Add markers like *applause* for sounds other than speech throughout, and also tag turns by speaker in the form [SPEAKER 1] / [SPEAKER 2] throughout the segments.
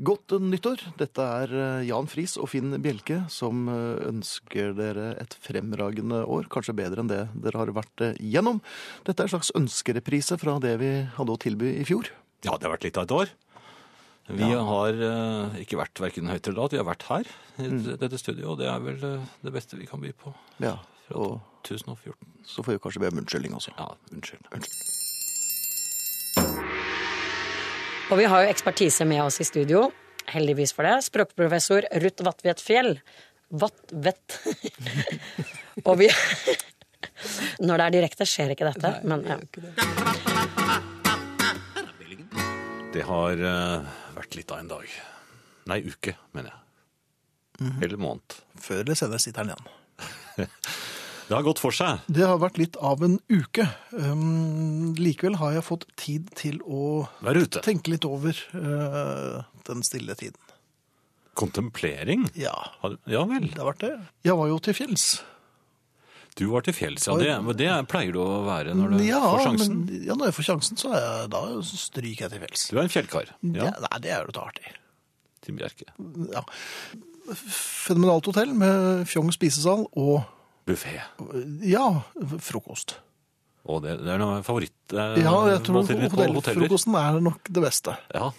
[SPEAKER 1] Godt nyttår. Dette er eh, Jan Friis og Finn Bjelke som eh, ønsker dere et fremragende år. Kanskje bedre enn det dere har vært eh, gjennom. Dette er en slags ønskereprise fra det vi hadde å tilby i fjor.
[SPEAKER 2] Ja, det har vært litt av et år. Vi har eh, ikke vært hverken høyt eller lavt, vi har vært her i
[SPEAKER 3] Mm.
[SPEAKER 2] dette studioet, og det er vel eh, det beste vi kan by på.
[SPEAKER 1] Ja, Og
[SPEAKER 2] 2014.
[SPEAKER 1] så får vi kanskje be om unnskyldning også.
[SPEAKER 2] Ja, unnskyld.
[SPEAKER 4] Og vi har jo ekspertise med oss i studio, heldigvis for det. Språkprofessor Ruth Vatvedt Fjell. Vatvedt. *laughs* og vi *laughs* Når det er direkte, skjer ikke dette. men, ja.
[SPEAKER 2] Det har eh, vært litt av en dag. Nei, uke, mener jeg.
[SPEAKER 3] Mhm.
[SPEAKER 2] Eller måned.
[SPEAKER 3] Før eller senere sitter han igjen.
[SPEAKER 2] Det har gått for seg.
[SPEAKER 3] Det har vært litt av en uke. Um, likevel har jeg fått tid til å
[SPEAKER 2] Vær ute.
[SPEAKER 3] tenke litt over eh, den stille tiden.
[SPEAKER 2] Kontemplering.
[SPEAKER 3] Ja,
[SPEAKER 2] Har- Ja vel.
[SPEAKER 3] det har vært det. Jeg var jo til fjells.
[SPEAKER 2] Du var til fjells, ja. Det, men det pleier du å være når du
[SPEAKER 3] Ja,
[SPEAKER 2] får sjansen.
[SPEAKER 3] men, ja, når jeg får sjansen, så er jeg, da stryker jeg til fjells.
[SPEAKER 2] Du er en fjellkar. Ja,
[SPEAKER 3] Mm, Ja, nei, det er jo ikke artig.
[SPEAKER 2] Tim Bjerke.
[SPEAKER 3] Ja. Fenomenalt hotell med fjong spisesal og
[SPEAKER 2] Buffé.
[SPEAKER 3] ja, frokost.
[SPEAKER 2] Og det, det er noe favoritt eh,
[SPEAKER 3] Ja, jeg tror
[SPEAKER 2] måltider på
[SPEAKER 3] hotell-
[SPEAKER 2] hoteller.
[SPEAKER 3] frokosten er nok det beste.
[SPEAKER 2] Ja,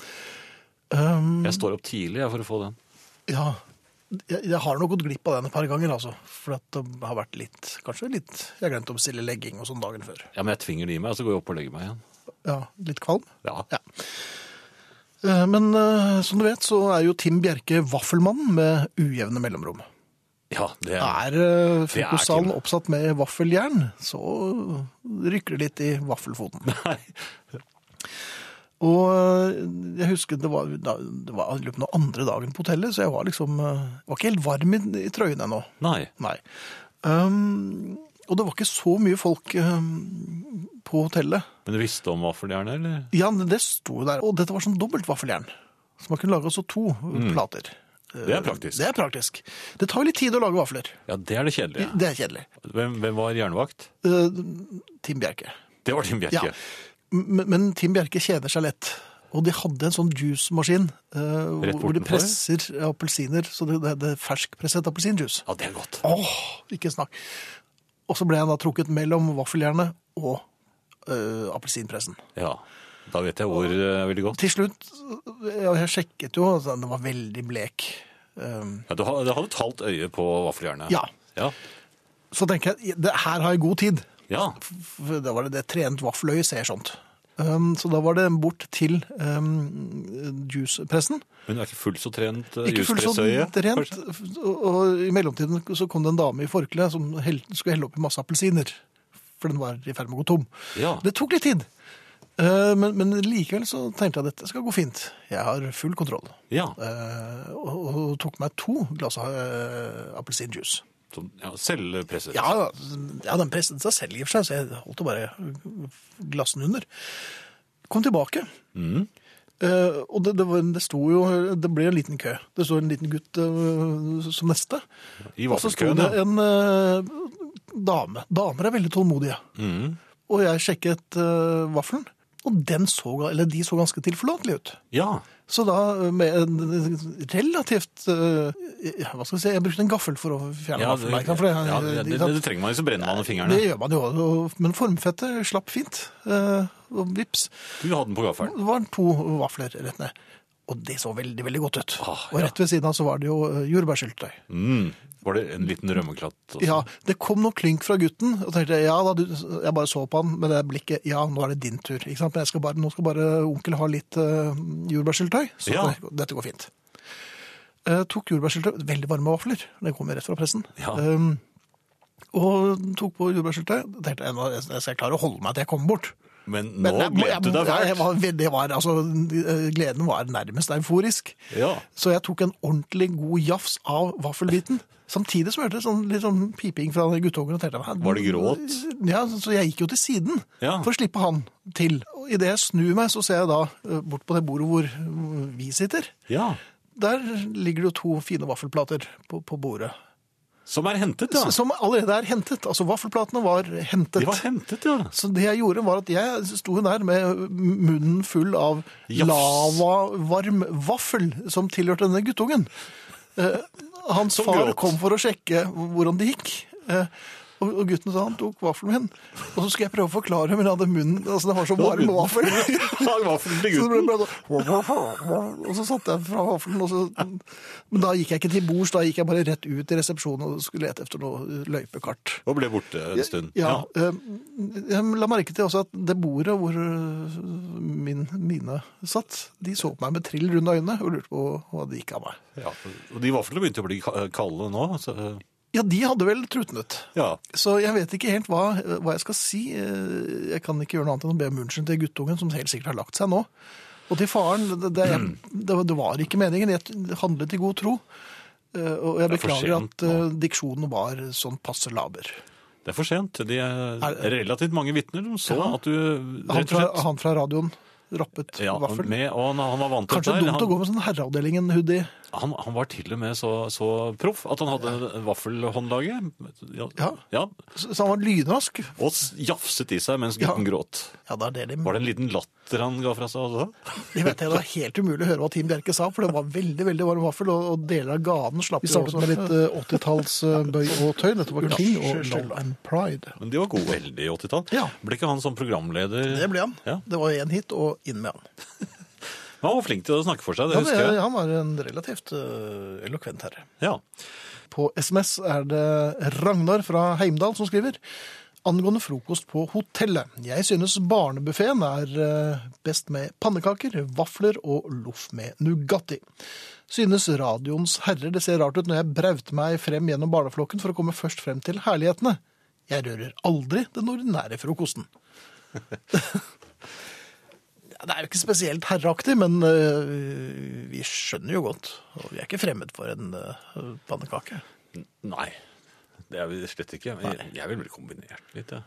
[SPEAKER 3] Um,
[SPEAKER 2] jeg står opp tidlig jeg, for å få den.
[SPEAKER 3] Ja, jeg, jeg har nok gått glipp av den et par ganger, altså. For at det har vært litt, kanskje litt, jeg har glemt å bestille legging og sånn dagen før.
[SPEAKER 2] Ja, men jeg tvinger det i meg, og så går jeg opp og legger meg igjen.
[SPEAKER 3] Ja, litt kvalm.
[SPEAKER 2] Ja,
[SPEAKER 3] Ja. Eh, Men eh, som du vet, så er jo Tim Bjerke vaffelmannen med ujevne mellomrom.
[SPEAKER 2] ja det er
[SPEAKER 3] Er eh,
[SPEAKER 2] Tim.
[SPEAKER 3] frokostsalen oppsatt med vaffeljern, så rykker det litt i vaffelfoten.
[SPEAKER 2] Nei.
[SPEAKER 3] Og eh, jeg husker det var, da- det var i løpet av andre dagen på hotellet, så jeg var liksom eh, var ikke helt varm i, i trøyen ennå.
[SPEAKER 2] *laughs* Nei.
[SPEAKER 3] Nei. Um, og det var ikke så mye folk um, på hotellet.
[SPEAKER 2] Men du visste om vaffeljernet, eller?
[SPEAKER 3] Ja, det sto jo der. Og dette var sånn dobbelt vaffeljern. Så man kunne lage også to eh, plater.
[SPEAKER 2] Mm. Det er praktisk.
[SPEAKER 3] Det er praktisk. Det tar jo litt tid å lage vafler.
[SPEAKER 2] Ja, det er det kjedelige.
[SPEAKER 3] Det er kjedelig.
[SPEAKER 2] Hvem, hvem var jernvakt?
[SPEAKER 3] Uh, Tim Bjerke.
[SPEAKER 2] Det var Tim
[SPEAKER 3] Ja.
[SPEAKER 2] Bjerke.
[SPEAKER 3] Men, men Tim Bjerke kjeder seg lett. Og de hadde en sånn juicemaskin uh,
[SPEAKER 2] Rett
[SPEAKER 3] hvor de
[SPEAKER 2] bortenfor?
[SPEAKER 3] presser appelsiner. Så det, det, det er ferskpresset appelsinjuice.
[SPEAKER 2] Ja, det er godt.
[SPEAKER 3] Åh, ikke snakk. Og så ble han da trukket mellom vaffeljernet og øh, appelsinpressen.
[SPEAKER 2] Ja, da vet jeg hvor eh, veldig godt.
[SPEAKER 3] Til slutt, eh, ja, jeg sjekket jo, altså, den var veldig blek. Um,
[SPEAKER 2] Ja, du ha- du hadde et halvt øye på vaffeljernet.
[SPEAKER 3] Ja.
[SPEAKER 2] Ja.
[SPEAKER 3] så tenker jeg, det, her har jeg god tid.
[SPEAKER 2] ja.
[SPEAKER 3] For Da var det det trent vaffeløyet ser sånt. Um, så da var det bort til um, juicepressen.
[SPEAKER 2] Men du er ikke fullt så trent eh,
[SPEAKER 3] Ikke fullt så
[SPEAKER 2] juspressøye,
[SPEAKER 3] rent.
[SPEAKER 2] kanskje?
[SPEAKER 3] Og, og i mellomtiden så kom det en dame i forkle som hel, skulle helle oppi masse appelsiner. For den var i ferd med å gå tom.
[SPEAKER 2] Ja.
[SPEAKER 3] Det tok litt tid. Eh, Men, men likevel så tenkte jeg at dette skal gå fint. Jeg har full kontroll.
[SPEAKER 2] ja.
[SPEAKER 3] Eh, Og, og tok meg to glass av eh, appelsinjuice.
[SPEAKER 2] Sånn, ja selvpresset.
[SPEAKER 3] Ja, ja, ja, den presset seg selv i og for seg, så jeg holdt jo bare glassen under. Kom tilbake.
[SPEAKER 2] Mm.
[SPEAKER 3] Eh, og det, det, var, det sto jo Det ble en liten kø. Det sto en liten gutt eh, som neste.
[SPEAKER 2] I
[SPEAKER 3] Og så sto
[SPEAKER 2] vaffelkøen, ja.
[SPEAKER 3] det en eh, dame. Damer er veldig tålmodige.
[SPEAKER 2] Mm.
[SPEAKER 3] Og jeg sjekket eh, vaffelen, og den så, eller de så ganske tilforlatelige ut.
[SPEAKER 2] Ja.
[SPEAKER 3] Så da eh, med en relativt eh, ja, Hva skal jeg si, jeg brukte en gaffel for å fjerne
[SPEAKER 2] Ja,
[SPEAKER 3] vaffelen.
[SPEAKER 2] det,
[SPEAKER 3] ikke sant, for jeg-
[SPEAKER 2] ja, det,
[SPEAKER 3] ikke
[SPEAKER 2] det,
[SPEAKER 3] sant?
[SPEAKER 2] det trenger man jo, så brenner man i fingrene.
[SPEAKER 3] Det gjør man jo, og- men formfettet slapp fint. eh, Og vips,
[SPEAKER 2] Du hadde den på gaffelen.
[SPEAKER 3] det var to vafler rett ned. Og det så veldig, veldig godt ut.
[SPEAKER 2] Ah,
[SPEAKER 3] Og
[SPEAKER 2] ja.
[SPEAKER 3] rett ved siden av så var det jo eh, jordbærsyltetøy.
[SPEAKER 2] Mm. Var det en liten rømmeklatt? også?
[SPEAKER 3] Ja, det kom noe klynk fra gutten, og tenkte jeg, ja da, du, jeg bare så på han med det blikket, ja, nå er det din tur, ikke sant? Men jeg skal bare, nå skal bare onkel ha litt uh, jordbærsyltetøy, så
[SPEAKER 2] Ja.
[SPEAKER 3] det- dette går fint. Eh, tok jordbærsyltetøy, veldig varme vafler, det kom jo rett fra pressen.
[SPEAKER 2] Ja.
[SPEAKER 3] Eh, og tok på jordbærsyltetøy, tenkte jeg, nå- jeg skal klare å holde meg til jeg kommer bort.
[SPEAKER 2] Men nå
[SPEAKER 3] Men jeg- jeg-
[SPEAKER 2] glemte du deg
[SPEAKER 3] ja, jeg
[SPEAKER 2] fælt.
[SPEAKER 3] var veldig- det var, altså, gleden var nærmest euforisk.
[SPEAKER 2] Ja.
[SPEAKER 3] Så jeg tok en ordentlig god jafs av vaffelbiten. Samtidig som jeg hørte sånn, litt sånn piping fra guttungen. og tenkte, "Hva-
[SPEAKER 2] Var det gråt?
[SPEAKER 3] Ja, så jeg gikk jo til siden
[SPEAKER 2] Ja.
[SPEAKER 3] for å slippe han til. Og Idet jeg snur meg, så ser jeg da eh, bort på det bordet hvor eh, vi sitter.
[SPEAKER 2] ja.
[SPEAKER 3] Der ligger det jo to fine vaffelplater på, på bordet.
[SPEAKER 2] Som er hentet, ja.
[SPEAKER 3] Som allerede er hentet. Altså vaffelplatene var hentet.
[SPEAKER 2] De var hentet,
[SPEAKER 3] *laughs*
[SPEAKER 2] ja.
[SPEAKER 3] Så det jeg gjorde var at jeg sto jo der med munnen full av
[SPEAKER 2] Jafs.
[SPEAKER 3] lavavarm vaffel som tilhørte denne guttungen. Eh, hans
[SPEAKER 2] Som
[SPEAKER 3] far
[SPEAKER 2] gråt.
[SPEAKER 3] kom for å sjekke hvordan det gikk. Eh, og og gutten sa han tok vaffelen min. Og så skulle jeg prøve å forklare, men jeg hadde munnen altså det var så varm
[SPEAKER 2] munnen.
[SPEAKER 3] vaffel. *laughs*
[SPEAKER 2] Han var for
[SPEAKER 3] Så det ble
[SPEAKER 2] gutten.
[SPEAKER 3] bare sånn Og så satte jeg fra vaffelen, og så Men da gikk jeg ikke til bords, da gikk jeg bare rett ut i resepsjonen og skulle lete etter noe løypekart.
[SPEAKER 2] Og ble borte en stund.
[SPEAKER 3] Ja, eh, Jeg la merke til også at det bordet hvor eh, min, mine satt, de så på meg med trill runde øyne og lurte på hva det gikk av meg.
[SPEAKER 2] ja. Og de vaflene begynte å bli ka- kalde nå. Så,
[SPEAKER 3] Ja, de hadde vel trutnet.
[SPEAKER 2] ja.
[SPEAKER 3] Så jeg vet ikke helt hva, hva jeg skal si. Eh, Jeg kan ikke gjøre noe annet enn å be om unnskyld til guttungen, som helt sikkert har lagt seg nå. Og til faren. Det, det,
[SPEAKER 2] Mm.
[SPEAKER 3] det, det var ikke meningen. Jeg handlet i god tro. Eh, Og jeg
[SPEAKER 2] Det er for
[SPEAKER 3] beklager
[SPEAKER 2] sent
[SPEAKER 3] at eh, diksjonen var sånn passe laber.
[SPEAKER 2] Det er for sent. De er relativt mange vitner som så
[SPEAKER 3] Ja.
[SPEAKER 2] at du
[SPEAKER 3] Han
[SPEAKER 2] rett og
[SPEAKER 3] fra,
[SPEAKER 2] slett
[SPEAKER 3] han fra radioen rappet
[SPEAKER 2] ja,
[SPEAKER 3] vaffel.
[SPEAKER 2] med, og han, han var vant til
[SPEAKER 3] Kanskje
[SPEAKER 2] dette her.
[SPEAKER 3] dumt å gå med sånn herreavdelingen-hoodie.
[SPEAKER 2] Han, han var til og med så, så proff at han hadde vaffelhåndlaget. Ja.
[SPEAKER 3] Ja. Så så han var lynrask.
[SPEAKER 2] Og s- jafset i seg mens gutten gråt.
[SPEAKER 3] Ja, det er det de
[SPEAKER 2] Var det en liten latter han ga fra seg også?
[SPEAKER 3] Det vet jeg, det var helt umulig å høre hva Team Bjerke sa, for det var veldig veldig varm vaffel, og, og deler av ganen slapp
[SPEAKER 5] Vi startet med litt eh, 80-talls eh, bøy og tøy. Dette var King og
[SPEAKER 3] Unnskyld.
[SPEAKER 5] Love and Pride.
[SPEAKER 2] Men de var gode heldige i 80-tall.
[SPEAKER 3] Ja.
[SPEAKER 2] Ble ikke han som programleder?
[SPEAKER 3] Det ble han.
[SPEAKER 2] Ja.
[SPEAKER 3] Det var én hit, og inn med han.
[SPEAKER 2] Men Han var flink til å snakke for seg, det
[SPEAKER 3] Ja,
[SPEAKER 2] husker
[SPEAKER 3] det,
[SPEAKER 2] jeg.
[SPEAKER 3] han var en relativt øh, elokvent herre.
[SPEAKER 2] Ja.
[SPEAKER 3] På SMS er det Ragnar fra Heimdal som skriver. Angående frokost på hotellet. Jeg synes barnebuffeen er øh, best med pannekaker, vafler og loff med Nugatti. Synes radioens herrer det ser rart ut når jeg brauter meg frem gjennom barneflokken for å komme først frem til herlighetene. Jeg rører aldri den ordinære frokosten. Det er jo ikke spesielt herreaktig, men øh, vi skjønner jo godt. Og vi er ikke fremmed for en øh, pannekake.
[SPEAKER 2] Nei, det er vi slett ikke. Men jeg, jeg vil bli kombinert litt, jeg.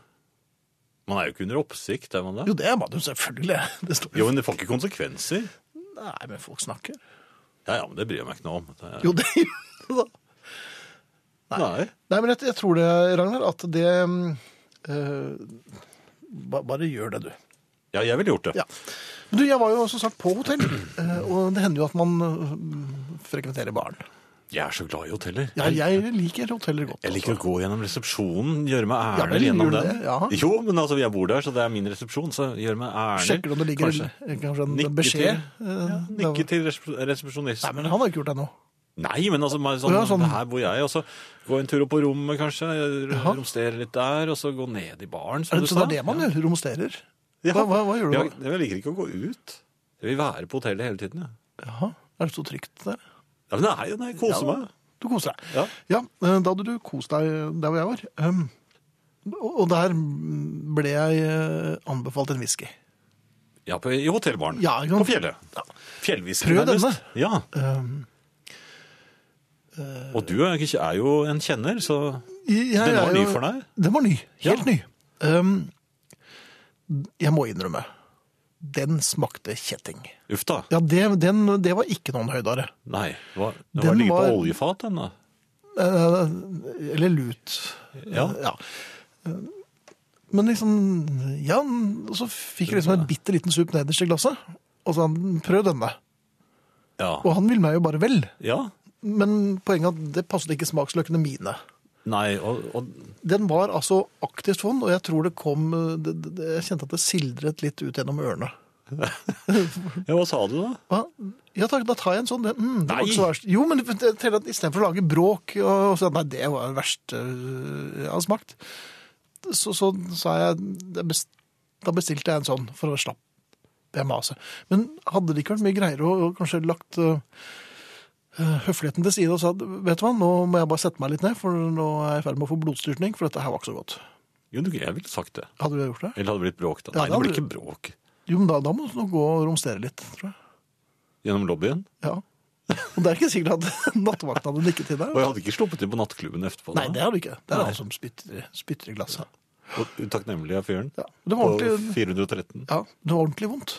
[SPEAKER 2] Man er jo ikke under oppsikt, er man
[SPEAKER 3] Jo,
[SPEAKER 2] det?
[SPEAKER 3] det er man jo selvfølgelig. *laughs* Det står
[SPEAKER 2] Jo, men det får ikke konsekvenser.
[SPEAKER 3] Nei, men folk snakker.
[SPEAKER 2] Ja, ja, men det bryr jeg meg ikke noe om. Det er-
[SPEAKER 3] Jo, det gjør det da.
[SPEAKER 2] Nei.
[SPEAKER 3] Nei, men jeg, jeg tror det, Ragnar, at det mm, øh, ba, Bare gjør det, du.
[SPEAKER 2] Ja, jeg ville gjort det.
[SPEAKER 3] Ja. Men du, jeg var jo som sagt på hotell, eh, og det hender jo at man øh, frekventerer barn.
[SPEAKER 2] Jeg er så glad i hoteller.
[SPEAKER 3] Ja, jeg liker hoteller godt. altså.
[SPEAKER 2] Jeg liker å gå gjennom resepsjonen, gjøre meg
[SPEAKER 3] Ja,
[SPEAKER 2] ærner
[SPEAKER 3] vel, gjør
[SPEAKER 2] gjennom
[SPEAKER 3] du
[SPEAKER 2] den.
[SPEAKER 3] det? Ja.
[SPEAKER 2] Jo, men altså, jeg bor der, så det er min resepsjon, så gjøre meg ærner.
[SPEAKER 3] Sjekker du om det ligger
[SPEAKER 2] Kanskje.
[SPEAKER 3] kanskje, en
[SPEAKER 2] Nikke
[SPEAKER 3] beskjed?
[SPEAKER 2] til.
[SPEAKER 3] eh,
[SPEAKER 2] Ja,
[SPEAKER 3] der-
[SPEAKER 2] nikke til resep- resepsjonisten.
[SPEAKER 3] Nei, men han har ikke gjort det ennå.
[SPEAKER 2] Nei, men altså, bare sånn,
[SPEAKER 3] Å, ja, sånn.
[SPEAKER 2] her bor jeg, og så gå en tur opp på rommet, kanskje, romstere litt der, og så gå ned i baren,
[SPEAKER 3] Er
[SPEAKER 2] som
[SPEAKER 3] det,
[SPEAKER 2] du
[SPEAKER 3] så det
[SPEAKER 2] sa.
[SPEAKER 3] er det man gjør? Romsterer?
[SPEAKER 2] Ja.
[SPEAKER 3] Hva, hva, hva gjør du
[SPEAKER 2] Ja,
[SPEAKER 3] da?
[SPEAKER 2] Jeg, liker ikke å gå ut. Jeg vil være på hotellet hele tiden, ja.
[SPEAKER 3] Jaha. Er det så trygt der?
[SPEAKER 2] Ja, men nei, nei, kose
[SPEAKER 3] Ja.
[SPEAKER 2] meg.
[SPEAKER 3] Du koser deg.
[SPEAKER 2] Ja.
[SPEAKER 3] eh, da hadde du kost deg der hvor jeg var. Um, og og der ble jeg eh, anbefalt en whisky.
[SPEAKER 2] Ja, på, i hotellbaren.
[SPEAKER 3] Ja, ikke sant?
[SPEAKER 2] på fjellet. Fjellvisken,
[SPEAKER 3] Prøv
[SPEAKER 2] nærmest.
[SPEAKER 3] denne.
[SPEAKER 2] Ja,
[SPEAKER 3] Um, eh,
[SPEAKER 2] og du er, ikke- er jo en kjenner, så...
[SPEAKER 3] jeg, jeg
[SPEAKER 2] Den var
[SPEAKER 3] er jo-
[SPEAKER 2] ny for deg?
[SPEAKER 3] Den var ny. Helt
[SPEAKER 2] Ja.
[SPEAKER 3] ny. Um, jeg må innrømme, den smakte kjetting.
[SPEAKER 2] Uff da.
[SPEAKER 3] Ja, det, den, det var ikke noen høydare.
[SPEAKER 2] Nei, hva, den,
[SPEAKER 3] Den
[SPEAKER 2] var ligget
[SPEAKER 3] var-
[SPEAKER 2] på oljefat, den da.
[SPEAKER 3] Eh, Eller lut.
[SPEAKER 2] Ja.
[SPEAKER 3] Eh, Men liksom, ja, og så fikk jeg liksom en bitte liten sup nederst i glasset. Og så han, prøv denne.
[SPEAKER 2] Ja.
[SPEAKER 3] Og han ville meg jo bare vel.
[SPEAKER 2] ja.
[SPEAKER 3] Men poenget er at det passet ikke smaksløkene mine.
[SPEAKER 2] Nei, og, og
[SPEAKER 3] Den var altså aktivt vond, og jeg tror det kom eh, det, det, det- Jeg kjente at det sildret litt ut gjennom ørene.
[SPEAKER 2] ja, hva sa du da?
[SPEAKER 3] Hva? Ja takk, da tar jeg en sånn. Det, mm, det var
[SPEAKER 2] Nei.
[SPEAKER 3] ikke så verst. Jo, men det- det teller at istedenfor å lage bråk og, og si at nei, det var det verste øh, jeg har smakt, så, så sa jeg jeg best- Da bestilte jeg en sånn, for å slappe jeg maset. Men hadde det ikke vært mye greier å å kanskje lagt øh, øh, høfligheten til side og sa vet du hva, nå må jeg bare sette meg litt ned, for nå er jeg i ferd med å få blodstyrtning, for dette her var ikke så godt.
[SPEAKER 2] Jo, du, jeg ville sagt det.
[SPEAKER 3] Hadde du gjort det?
[SPEAKER 2] Eller hadde det blitt bråk da? Nei,
[SPEAKER 3] Ja, da
[SPEAKER 2] det ble
[SPEAKER 3] hadde-
[SPEAKER 2] ikke bråk.
[SPEAKER 3] Jo, men da, da må du nå gå og romstere litt, tror jeg.
[SPEAKER 2] Gjennom lobbyen?
[SPEAKER 3] Ja. *laughs* Og det er ikke sikkert at *laughs* nattevakten hadde nikket til deg.
[SPEAKER 2] Og jeg hadde ikke sluppet inn på nattklubben etterpå.
[SPEAKER 3] Nei, det har du ikke. Det er
[SPEAKER 2] Nei.
[SPEAKER 3] han som spytter, spytter i glasset.
[SPEAKER 2] Og utakknemlig av fyren.
[SPEAKER 3] Ja. Det, var
[SPEAKER 2] På
[SPEAKER 3] ordentlig,
[SPEAKER 2] 413.
[SPEAKER 3] ja, det var ordentlig vondt.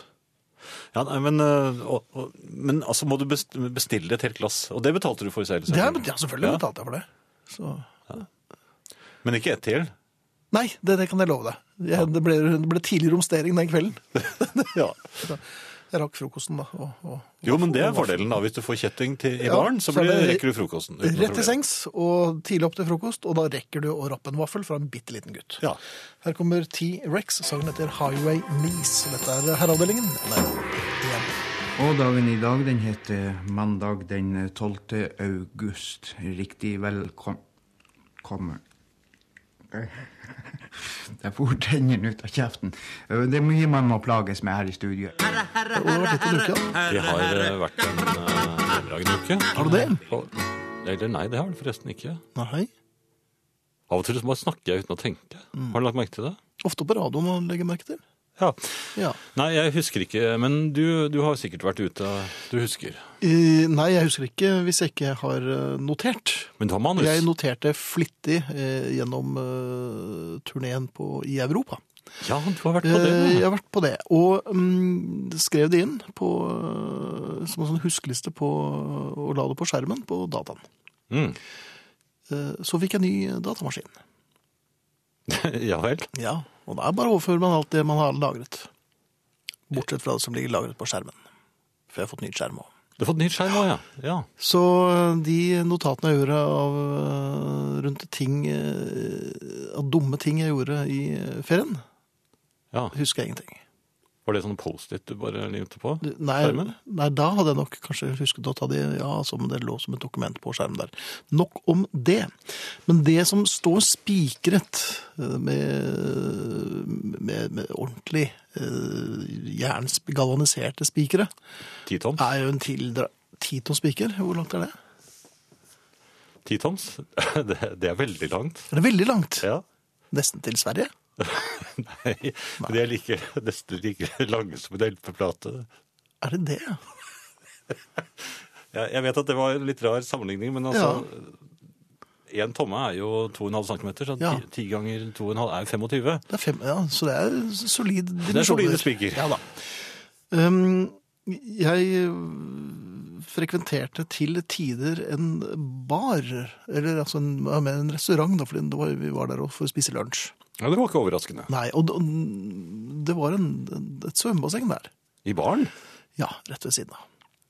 [SPEAKER 2] Ja, nei, men, øh, og, og, men altså må du best- bestille et helt glass. Og det betalte du for selv?
[SPEAKER 3] Det er,
[SPEAKER 2] selvfølgelig.
[SPEAKER 3] ja, selvfølgelig
[SPEAKER 2] Ja.
[SPEAKER 3] betalte jeg for det. Så
[SPEAKER 2] Men ikke ett
[SPEAKER 3] *laughs*
[SPEAKER 2] til.
[SPEAKER 3] Nei, det, det kan jeg love deg. Jeg, det, ble, det ble tidlig romstering den kvelden.
[SPEAKER 2] Ja.
[SPEAKER 3] Jeg rakk frokosten, da. Og, og,
[SPEAKER 2] Jo, men det er fordelen, da. Hvis du får kjetting til, i
[SPEAKER 3] Ja,
[SPEAKER 2] baren, så
[SPEAKER 3] så er
[SPEAKER 2] blir det,
[SPEAKER 3] det
[SPEAKER 2] rekker du frokosten. uten
[SPEAKER 3] Rett
[SPEAKER 2] noe
[SPEAKER 3] til
[SPEAKER 2] problem.
[SPEAKER 3] sengs og tidlig opp til frokost, og da rekker du å rappe en vaffel fra en bitte liten gutt.
[SPEAKER 2] Ja.
[SPEAKER 3] Her kommer T-Rex. Sangen heter Highway Nice. Dette er herreavdelingen. Nei, igjen.
[SPEAKER 6] Og dagen i dag, den heter mandag den 12. august. Riktig velkommen. *laughs* Jeg får tennene ut av kjeften. Det er mye man må plages med her i studio.
[SPEAKER 3] Og det har vært litt av en uke, da.
[SPEAKER 2] Det har eh, vært en eh, fremragende uke.
[SPEAKER 3] Har du det?
[SPEAKER 2] Og- Eller nei, det har det forresten ikke.
[SPEAKER 3] Nei.
[SPEAKER 2] Av og til så bare snakker jeg uten å tenke.
[SPEAKER 3] Mm.
[SPEAKER 2] Har du lagt merke til det?
[SPEAKER 3] Ofte på radioen å legge merke til.
[SPEAKER 2] Ja.
[SPEAKER 3] Ja.
[SPEAKER 2] Nei, jeg husker ikke, men du, du har sikkert vært ute. Du husker.
[SPEAKER 3] Eh, Nei, jeg husker ikke hvis jeg ikke har eh, notert.
[SPEAKER 2] Men du har manus.
[SPEAKER 3] Jeg noterte flittig eh, gjennom eh, turneen på- i Europa.
[SPEAKER 2] Ja, du har vært på det.
[SPEAKER 3] Eh, Jeg
[SPEAKER 2] ja.
[SPEAKER 3] har vært på det, og mm, skrev det inn på, eh, som en sånn huskeliste på, og la det på skjermen på dataen.
[SPEAKER 2] Mm. *laughs*
[SPEAKER 3] Eh, Så fikk jeg ny datamaskin.
[SPEAKER 2] ja vel.
[SPEAKER 3] Ja, og da er bare overfører man alt det man har lagret. Bortsett fra det som ligger lagret på skjermen. For jeg har fått nytt skjerm òg.
[SPEAKER 2] Du har fått nytt skjerm òg, ja. ja.
[SPEAKER 3] Så eh, de notatene jeg gjorde av, eh, rundt ting, eh, av dumme ting jeg gjorde i eh, ferien,
[SPEAKER 2] Ja,
[SPEAKER 3] husker jeg ingenting.
[SPEAKER 2] Var det sånn Post-It du bare limte på?
[SPEAKER 3] Du, Nei,
[SPEAKER 2] Skjermen?
[SPEAKER 3] nei, da hadde jeg nok kanskje husket å ta det, ja, som det lå som et dokument på skjermen der. Nok om det. Men det som står spikret eh, med, med, med ordentlig eh, jernsgalvaniserte spikere,
[SPEAKER 2] Titoms?
[SPEAKER 3] er jo en tildra... Titospiker, hvor langt er det?
[SPEAKER 2] Titoms? *laughs* det, det er veldig langt.
[SPEAKER 3] Er det veldig langt?
[SPEAKER 2] Ja. *laughs*
[SPEAKER 3] Nesten til Sverige?
[SPEAKER 2] Nei, men de er like, nesten like lange som en LP-plate.
[SPEAKER 3] Er det det?
[SPEAKER 2] Jeg, jeg vet at det var en litt rar sammenligning, men altså Én tomme er jo 2,5 cm, så ti-
[SPEAKER 3] Ja.
[SPEAKER 2] ti ganger 2,5 er jo 25.
[SPEAKER 3] Det er fem, ja, så det er solid
[SPEAKER 2] Det er solide
[SPEAKER 3] dimensjoner.
[SPEAKER 2] spiker.
[SPEAKER 3] Ja da. Um, jeg øh, frekventerte til tider en bar, eller altså en, ja, men en restaurant, da, fordi det var, vi var der også for å spise lunsj.
[SPEAKER 2] Ja, det var ikke overraskende.
[SPEAKER 3] Nei, og d- det var en, et svømmebasseng der.
[SPEAKER 2] I baren?
[SPEAKER 3] Ja, rett ved siden av.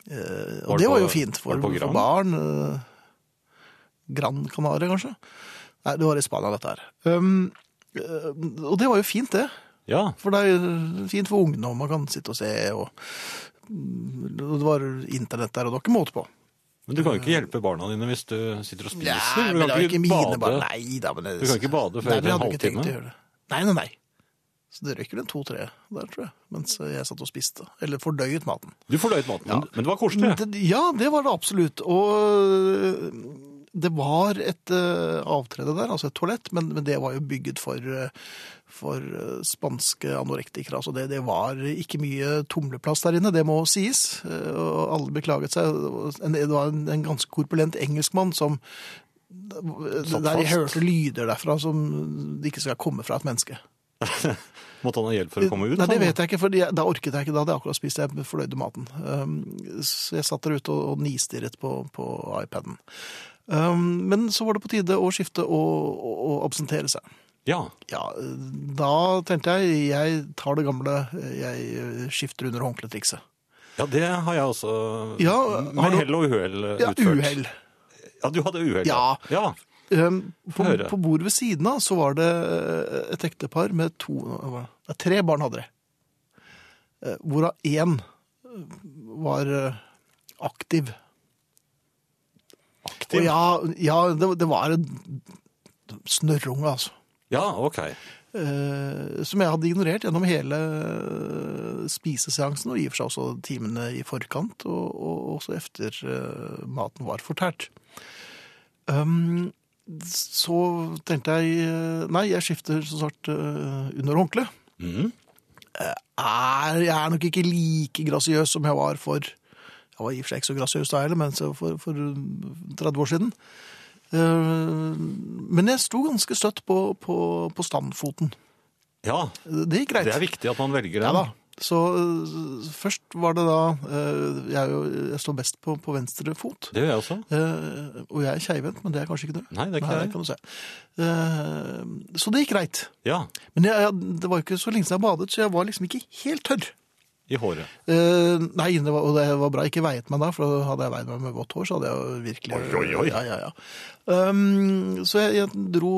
[SPEAKER 3] Eh,
[SPEAKER 2] Var
[SPEAKER 3] og
[SPEAKER 2] det
[SPEAKER 3] det var
[SPEAKER 2] på-
[SPEAKER 3] jo fint for,
[SPEAKER 2] var det på
[SPEAKER 3] for
[SPEAKER 2] Gran?
[SPEAKER 3] barn. eh, Gran Canaria, kanskje? Nei, det var i Spania, dette her. Um, eh, og det var jo fint, det.
[SPEAKER 2] Ja.
[SPEAKER 3] For det er jo fint for ungene, og man kan sitte og se, og og det var internett der, og det var ikke måte på.
[SPEAKER 2] Men du kan jo ikke hjelpe barna dine hvis du sitter og spiser. du kan
[SPEAKER 3] det var jo barn. Nei, da, men det,
[SPEAKER 2] Du kan ikke bade før
[SPEAKER 3] Nei, men
[SPEAKER 2] etter
[SPEAKER 3] jeg
[SPEAKER 2] en
[SPEAKER 3] hadde ikke tenkt å
[SPEAKER 2] halvtime.
[SPEAKER 3] gjøre det. Nei, nei, nei. Så det røyker en to-tre der, tror jeg, mens jeg satt og spiste. Eller fordøyet maten.
[SPEAKER 2] Du fordøyet maten, men- men det var koselig.
[SPEAKER 3] Det, ja, det var det absolutt. Og øh, det var et eh, avtrede der, altså et toalett, men, men det var jo bygget for, eh, for eh, spanske anorektikere. Altså det, det var ikke mye tumleplass der inne, det må sies. Eh, og alle beklaget seg. En- Det var en, en ganske korpulent engelskmann som øh,
[SPEAKER 2] Satt
[SPEAKER 3] der jeg
[SPEAKER 2] fast.
[SPEAKER 3] hørte lyder derfra som det ikke skal komme fra et menneske.
[SPEAKER 2] Måtte han ha hjelp for å komme ut?
[SPEAKER 3] Nei, det
[SPEAKER 2] han?
[SPEAKER 3] vet jeg ikke, for da orket jeg ikke. Da hadde jeg akkurat spist, jeg fordøyde maten. Um, så jeg satt der ute og, og nistirret på, på iPaden. Um, men så var det på tide å skifte og, og, og absentere seg.
[SPEAKER 2] Ja.
[SPEAKER 3] Ja, da tenkte jeg, jeg tar det gamle, jeg skifter under håndkletrikset.
[SPEAKER 2] ja, det har jeg også
[SPEAKER 3] Ja, har
[SPEAKER 2] med
[SPEAKER 3] du-
[SPEAKER 2] hell og uhell eh,
[SPEAKER 3] Ja,
[SPEAKER 2] utført.
[SPEAKER 3] uhell.
[SPEAKER 2] Ja, du hadde uhell.
[SPEAKER 3] Ja.
[SPEAKER 2] ja.
[SPEAKER 3] Um, på,
[SPEAKER 2] høre.
[SPEAKER 3] på bordet ved siden av så var det eh, et ektepar med to, eh, nei, tre barn hadde det. Eh, Hvorav én eh, var eh, aktiv.
[SPEAKER 2] Aktiv.
[SPEAKER 3] Og ja, ja det, det var en snørrunge, altså.
[SPEAKER 2] Ja, ok.
[SPEAKER 3] Eh, som jeg hadde ignorert gjennom hele eh, spiseseansen, og i og for seg også timene i forkant, og, og også efter eh, maten var fortært. Um, så tenkte jeg eh, Nei, jeg skifter som sagt eh, under håndkle. Eh,
[SPEAKER 2] Mhm.
[SPEAKER 3] Er, jeg er nok ikke like grasiøs som jeg var for Jeg var i og for seg ikke så grasiøs da heller, men så for, for 30 år siden. Eh, men jeg sto ganske støtt på, på, på standfoten.
[SPEAKER 2] Ja,
[SPEAKER 3] Det gikk greit.
[SPEAKER 2] det er viktig at man velger
[SPEAKER 3] Ja
[SPEAKER 2] den.
[SPEAKER 3] da. Så eh, først var det da eh, Jeg, er jo, jeg står best på, på venstre fot.
[SPEAKER 2] Det gjør jeg også.
[SPEAKER 3] Eh, og jeg er keivhendt, men det er kanskje ikke du?
[SPEAKER 2] Nei, det er ikke jeg.
[SPEAKER 3] kan du se. Eh, så det gikk greit.
[SPEAKER 2] Ja,
[SPEAKER 3] Men jeg, jeg, det var jo ikke så lenge siden jeg badet, så jeg var liksom ikke helt tørr.
[SPEAKER 2] i håret.
[SPEAKER 3] Eh, nei, det var, og det var bra jeg ikke veiet meg da, for hadde jeg veid meg med vått hår, så hadde jeg jo virkelig
[SPEAKER 2] Oi, oi, oi.
[SPEAKER 3] Ja, ja, ja. Um, så jeg, jeg dro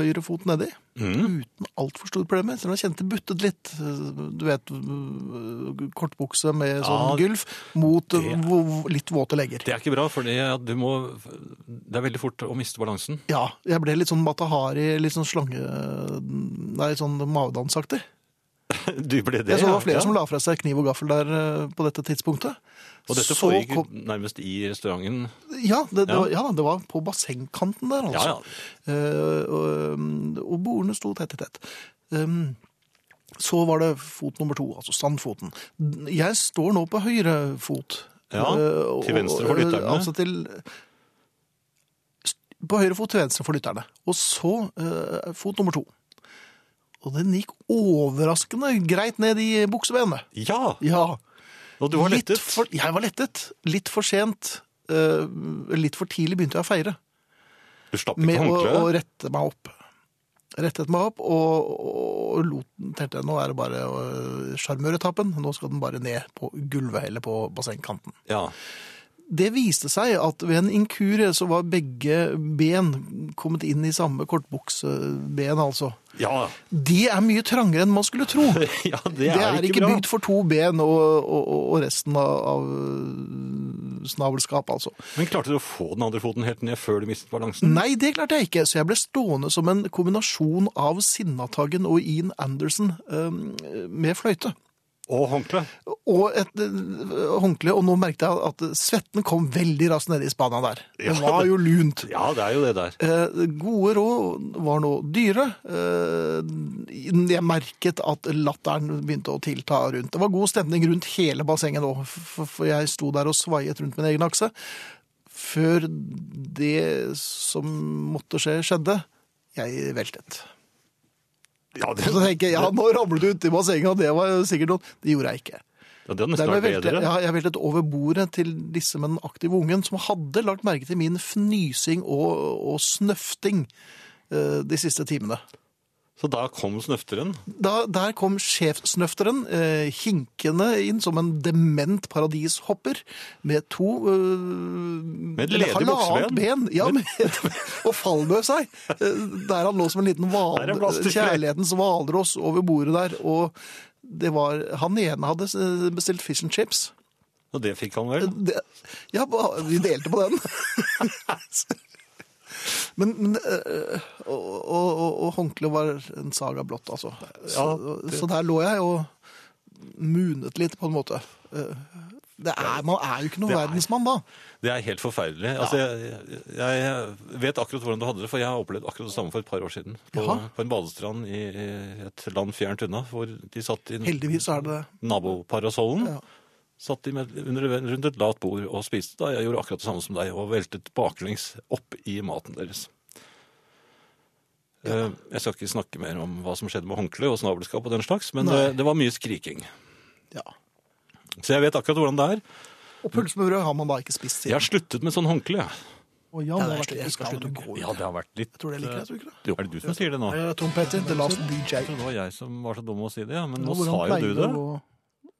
[SPEAKER 3] høyre fot nedi,
[SPEAKER 2] Mm.
[SPEAKER 3] uten altfor store problemer. Selv om jeg kjente det buttet litt. Du vet, øh, kortbukse med sånn
[SPEAKER 2] Ja,
[SPEAKER 3] gulf mot
[SPEAKER 2] det-
[SPEAKER 3] hvor- hvor- litt våte legger.
[SPEAKER 2] Det er ikke bra, for det er veldig fort å miste balansen.
[SPEAKER 3] Ja, jeg ble litt sånn matahari, litt sånn slange... Nei, sånn mavedansaktig.
[SPEAKER 2] *laughs* Du ble det,
[SPEAKER 3] Jeg så det var
[SPEAKER 2] ja.
[SPEAKER 3] flere
[SPEAKER 2] Ja.
[SPEAKER 3] som la fra seg kniv og gaffel der øh, på dette tidspunktet.
[SPEAKER 2] Og dette
[SPEAKER 3] Så
[SPEAKER 2] foregikk
[SPEAKER 3] kom-
[SPEAKER 2] nærmest i restauranten.
[SPEAKER 3] Ja, det, det,
[SPEAKER 2] Ja.
[SPEAKER 3] Var, ja, da, det var på bassengkanten der, altså.
[SPEAKER 2] Ja, ja.
[SPEAKER 3] Eh, og, og bordene sto tett i tett. Um, så var det fot nummer to, altså standfoten. Jeg står nå på høyre fot.
[SPEAKER 2] Ja,
[SPEAKER 3] Eh, og-
[SPEAKER 2] til venstre for
[SPEAKER 3] eh,
[SPEAKER 2] lytterne.
[SPEAKER 3] Altså til På høyre fot til venstre for lytterne. Og så eh, fot nummer to. Og den gikk overraskende greit ned i buksebenet.
[SPEAKER 2] Ja,
[SPEAKER 3] Ja.
[SPEAKER 2] og du var
[SPEAKER 3] Litt
[SPEAKER 2] lettet.
[SPEAKER 3] For, jeg var lettet. Litt for sent. eh, litt for tidlig begynte jeg å feire
[SPEAKER 2] Du slapp ikke
[SPEAKER 3] med å, å
[SPEAKER 2] håndkleet.
[SPEAKER 3] rette meg opp. Rettet meg opp og, og lot, tenkte jeg, nå er det bare å- sjarmøretappen. Nå skal den bare ned på gulvet eller på bassengkanten.
[SPEAKER 2] Ja.
[SPEAKER 3] Det viste seg at ved en inkurie så var begge ben kommet inn i samme kortbukseben, altså.
[SPEAKER 2] Ja. *laughs*
[SPEAKER 3] Det er mye trangere enn man skulle tro.
[SPEAKER 2] ja, det
[SPEAKER 3] Det
[SPEAKER 2] *laughs* er,
[SPEAKER 3] er ikke
[SPEAKER 2] bra.
[SPEAKER 3] bygd for to ben og, og, og resten av, av snabelskap, altså.
[SPEAKER 2] Men klarte du å få den andre foten helt ned før du mistet balansen?
[SPEAKER 3] Nei, det klarte jeg ikke, så jeg ble stående som en kombinasjon av Sinnataggen og Ian Anderson øhm, med fløyte.
[SPEAKER 2] Og håndkle.
[SPEAKER 3] Og et øh, håndkle, og nå merket jeg at svetten kom veldig raskt nede i spana der. Det
[SPEAKER 2] Ja,
[SPEAKER 3] var
[SPEAKER 2] det-
[SPEAKER 3] jo lunt.
[SPEAKER 2] Ja, det er jo det der.
[SPEAKER 3] Eh, gode råd var nå dyre. Eh, jeg merket at latteren begynte å tilta rundt. Det var god stemning rundt hele bassenget nå, for for jeg sto der og svaiet rundt min egen akse. Før det som måtte skje, skjedde. Jeg veltet.
[SPEAKER 2] Ja, det,
[SPEAKER 3] Så tenker jeg, ja, nå ramlet du uti bassenget, og det var jo sikkert noe. Det gjorde jeg ikke.
[SPEAKER 2] ja, det hadde nesten
[SPEAKER 3] Dermed
[SPEAKER 2] vært
[SPEAKER 3] veltet,
[SPEAKER 2] bedre.
[SPEAKER 3] ja, jeg veltet over bordet til disse med den aktive ungen, som hadde lagt merke til min fnysing og, og snøfting eh, de siste timene.
[SPEAKER 2] Så da kom snøfteren.
[SPEAKER 3] Da, der kom sjefsnøfteren eh, hinkende inn som en dement paradishopper med to eh,
[SPEAKER 2] Med et ledig
[SPEAKER 3] eller halvannet
[SPEAKER 2] bukseben.
[SPEAKER 3] ben. Ja, med, *laughs* og fallbøv seg. eh, der han lå som en liten val,
[SPEAKER 2] Der er plass til flere.
[SPEAKER 3] kjærlighetens hvalross over bordet der. Og det var Han ene hadde eh, bestilt fish and chips.
[SPEAKER 2] Og det fikk han vel.
[SPEAKER 3] Det, ja, ba- vi delte på den. men men øh, og, og, og- og håndkleet var en saga blått, altså. Så, så der lå jeg og munet litt, på en måte. Eh, Det er, man er jo ikke noen
[SPEAKER 2] Det er-
[SPEAKER 3] verdensmann da.
[SPEAKER 2] Det er helt forferdelig. Altså, jeg, jeg, jeg vet akkurat hvordan du hadde det, for jeg har opplevd akkurat det samme for et par år siden. På,
[SPEAKER 3] Jaha.
[SPEAKER 2] på en badestrand i i et land fjernt unna, hvor de satt i
[SPEAKER 3] Heldigvis så er det
[SPEAKER 2] naboparasollen.
[SPEAKER 3] Ja.
[SPEAKER 2] Satt de med, under, rundt et lavt bord og spiste. da. Jeg gjorde akkurat det samme som deg og veltet baklengs opp i maten deres. Eh, Jeg skal ikke snakke mer om hva som skjedde med håndkle og snabelskap og den slags, men eh,
[SPEAKER 3] Nei.
[SPEAKER 2] det, det var mye skriking.
[SPEAKER 3] ja.
[SPEAKER 2] Så jeg vet akkurat hvordan det er.
[SPEAKER 3] Og pølse med brød har man da ikke
[SPEAKER 2] Jeg
[SPEAKER 3] spist siden.
[SPEAKER 2] har sluttet med sånn håndkle. jeg.
[SPEAKER 7] Og Jan
[SPEAKER 3] Ja,
[SPEAKER 7] har
[SPEAKER 3] jeg
[SPEAKER 7] vært
[SPEAKER 3] skal- jeg
[SPEAKER 7] litt
[SPEAKER 3] skal slutte å gå ut.
[SPEAKER 2] Ja, det har vært litt eh,
[SPEAKER 3] Jeg tror det liker jeg, tror ikke det.
[SPEAKER 2] Jo, er det du som sier det nå?
[SPEAKER 7] Her er Tom Petty, The Last DJ.
[SPEAKER 2] Det var jeg som var så dum å si det, ja. Men nå
[SPEAKER 7] Og hvordan
[SPEAKER 2] sa jo
[SPEAKER 7] pleier
[SPEAKER 2] du det.
[SPEAKER 7] å gå-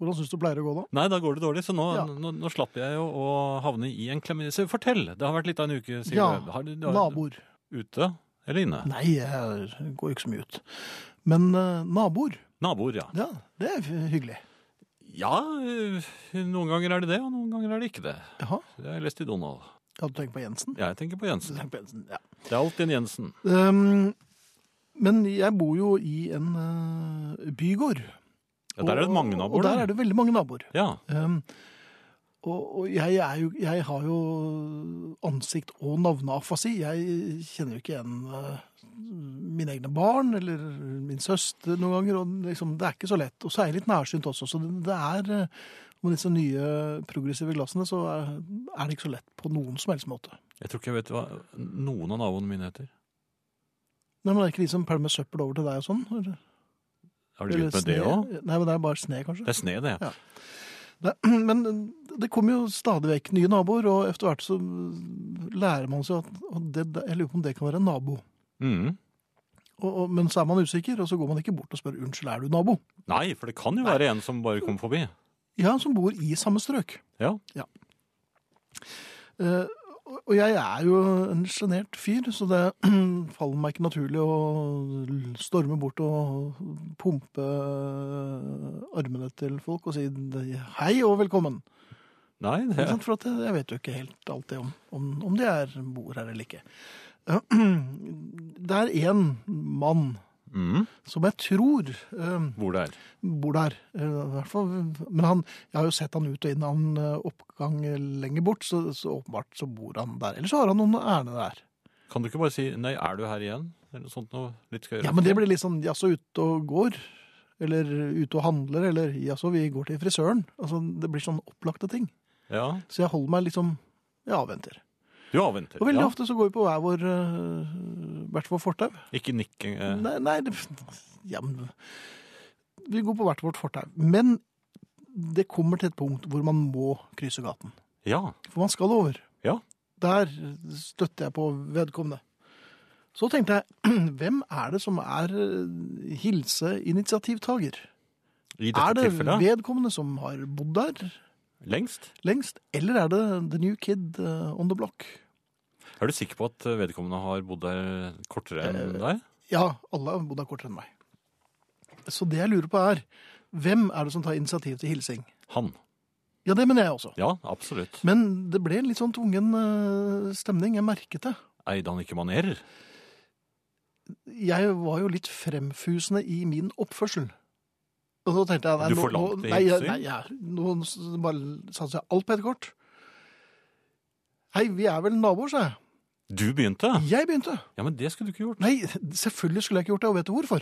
[SPEAKER 7] Hvordan syns du pleier å gå, da?
[SPEAKER 2] Nei, da går det dårlig, så nå,
[SPEAKER 7] Ja.
[SPEAKER 2] nå, nå slapp jeg jo å havne i en klemme. Så fortell! Det har vært litt av en uke siden.
[SPEAKER 7] Ja,
[SPEAKER 2] Har du- har-
[SPEAKER 7] Naboer.
[SPEAKER 2] Ute eller inne?
[SPEAKER 7] Nei, jeg går ikke så mye ut. Men eh, naboer,
[SPEAKER 2] Naboer, ja.
[SPEAKER 7] ja, det er hyggelig.
[SPEAKER 2] Ja, øh, noen ganger er det det, og noen ganger er det ikke det.
[SPEAKER 7] Jaha.
[SPEAKER 2] Det har jeg lest i Donald.
[SPEAKER 7] Ja, du tenker på Jensen?
[SPEAKER 2] Jeg tenker på
[SPEAKER 7] Du
[SPEAKER 2] Jensen.
[SPEAKER 7] tenker på Jensen, ja.
[SPEAKER 2] Det er alltid en Jensen.
[SPEAKER 7] Ehm, men jeg bor jo i en eh, bygård.
[SPEAKER 2] Ja, der er det
[SPEAKER 7] Og-
[SPEAKER 2] mange naboer.
[SPEAKER 7] Og der er det veldig mange naboer.
[SPEAKER 2] Ja,
[SPEAKER 7] Ehm, og og jeg, er jo, jeg har jo ansikt- og navneafasi. Jeg kjenner jo ikke igjen eh, mine egne barn eller min søster noen ganger. og liksom, Det er ikke så lett. Og så er jeg litt nærsynt også. Så det, det er eh, Med disse nye progressive glassene så er, er det ikke så lett på noen som helst måte.
[SPEAKER 2] jeg tror ikke jeg vet hva noen av naboene mine heter.
[SPEAKER 7] Nei, men er det ikke de som pælmer søppel over til deg og sånn? eller?
[SPEAKER 2] Har du begynt med
[SPEAKER 3] sne.
[SPEAKER 2] det òg?
[SPEAKER 3] Nei, men det er bare sne, kanskje.
[SPEAKER 2] Det er sne, det.
[SPEAKER 3] Ja. Det, *clears throat* men det kommer jo stadig vekk nye naboer, og etter hvert så lærer man seg at og det, Jeg lurer på om det kan være en nabo. Mm.
[SPEAKER 2] Mhm.
[SPEAKER 3] Og, og, men så er man usikker, og så går man ikke bort og spør 'unnskyld, er du nabo?'
[SPEAKER 2] Nei, for det kan jo være en som bare kommer forbi.
[SPEAKER 3] Ja, som bor i samme strøk.
[SPEAKER 2] Ja.
[SPEAKER 3] Eh, og- og jeg er jo en sjenert fyr, så det *clears throat* faller meg ikke naturlig å storme bort og pumpe armene til folk og si 'hei og velkommen'.
[SPEAKER 2] Nei,
[SPEAKER 3] Ikke
[SPEAKER 2] det
[SPEAKER 3] sant? For at jeg, jeg vet jo ikke helt alltid om, om, om de er, bor her eller ikke. *clears throat* Det er én mann
[SPEAKER 2] Mhm.
[SPEAKER 3] som jeg tror eh,
[SPEAKER 2] Hvor det er.
[SPEAKER 3] bor der. eh, I hvert fall. Men han, jeg har jo sett han ut og inn av en eh, oppgang lenger bort, så, så åpenbart så bor han der. Eller så har han noen ærend der.
[SPEAKER 2] Kan du ikke bare si 'nei, er du her igjen'? Eller noe sånt noe litt skøyere.
[SPEAKER 3] Ja, Men det blir litt sånn jaså, ute og går? Eller ute og handler? Eller jaså, vi går til frisøren? Altså, Det blir sånn opplagte ting.
[SPEAKER 2] Ja,
[SPEAKER 3] Så jeg holder meg liksom Jeg avventer.
[SPEAKER 2] Du avventer.
[SPEAKER 3] Og veldig
[SPEAKER 2] ja.
[SPEAKER 3] ofte så går vi på hver vår øh, hvert vårt fortau.
[SPEAKER 2] Ikke nikk. eh,
[SPEAKER 3] Nei, nei det, ja, men, Vi går på hvert vårt fortau. Men det kommer til et punkt hvor man må krysse gaten.
[SPEAKER 2] Ja.
[SPEAKER 3] For man skal over.
[SPEAKER 2] Ja.
[SPEAKER 3] Der støtter jeg på vedkommende. Så tenkte jeg, *clears throat* hvem er det som er øh, hilseinitiativtager?
[SPEAKER 2] I dette
[SPEAKER 3] Er det
[SPEAKER 2] tilfellet.
[SPEAKER 3] vedkommende som har bodd der
[SPEAKER 2] Lengst.
[SPEAKER 3] lengst, eller er det the new kid øh, on the block?
[SPEAKER 2] Er du sikker på at vedkommende har bodd der kortere
[SPEAKER 3] Eh.
[SPEAKER 2] enn deg?
[SPEAKER 3] Ja, alle har bodd der kortere enn meg. Så det jeg lurer på er, hvem er det som tar initiativ til hilsing?
[SPEAKER 2] Han.
[SPEAKER 3] Ja, det mener jeg også.
[SPEAKER 2] Ja, absolutt.
[SPEAKER 3] Men det ble en litt sånn tvungen eh, stemning, jeg merket det.
[SPEAKER 2] Eide han ikke manerer?
[SPEAKER 3] Jeg var jo litt fremfusende i min oppførsel. Og så tenkte jeg, nei,
[SPEAKER 2] Du
[SPEAKER 3] nå-
[SPEAKER 2] forlangte
[SPEAKER 3] nå- nei, jeg-
[SPEAKER 2] hilsing?
[SPEAKER 3] Nei, jeg, nå s- bare satser jeg alt på et kort. Hei, vi er vel naboer, sa jeg.
[SPEAKER 2] Du begynte?
[SPEAKER 3] Jeg begynte.
[SPEAKER 2] Ja, men det skulle du ikke gjort.
[SPEAKER 3] Nei, *laughs* selvfølgelig skulle jeg ikke gjort det, og vet du hvorfor?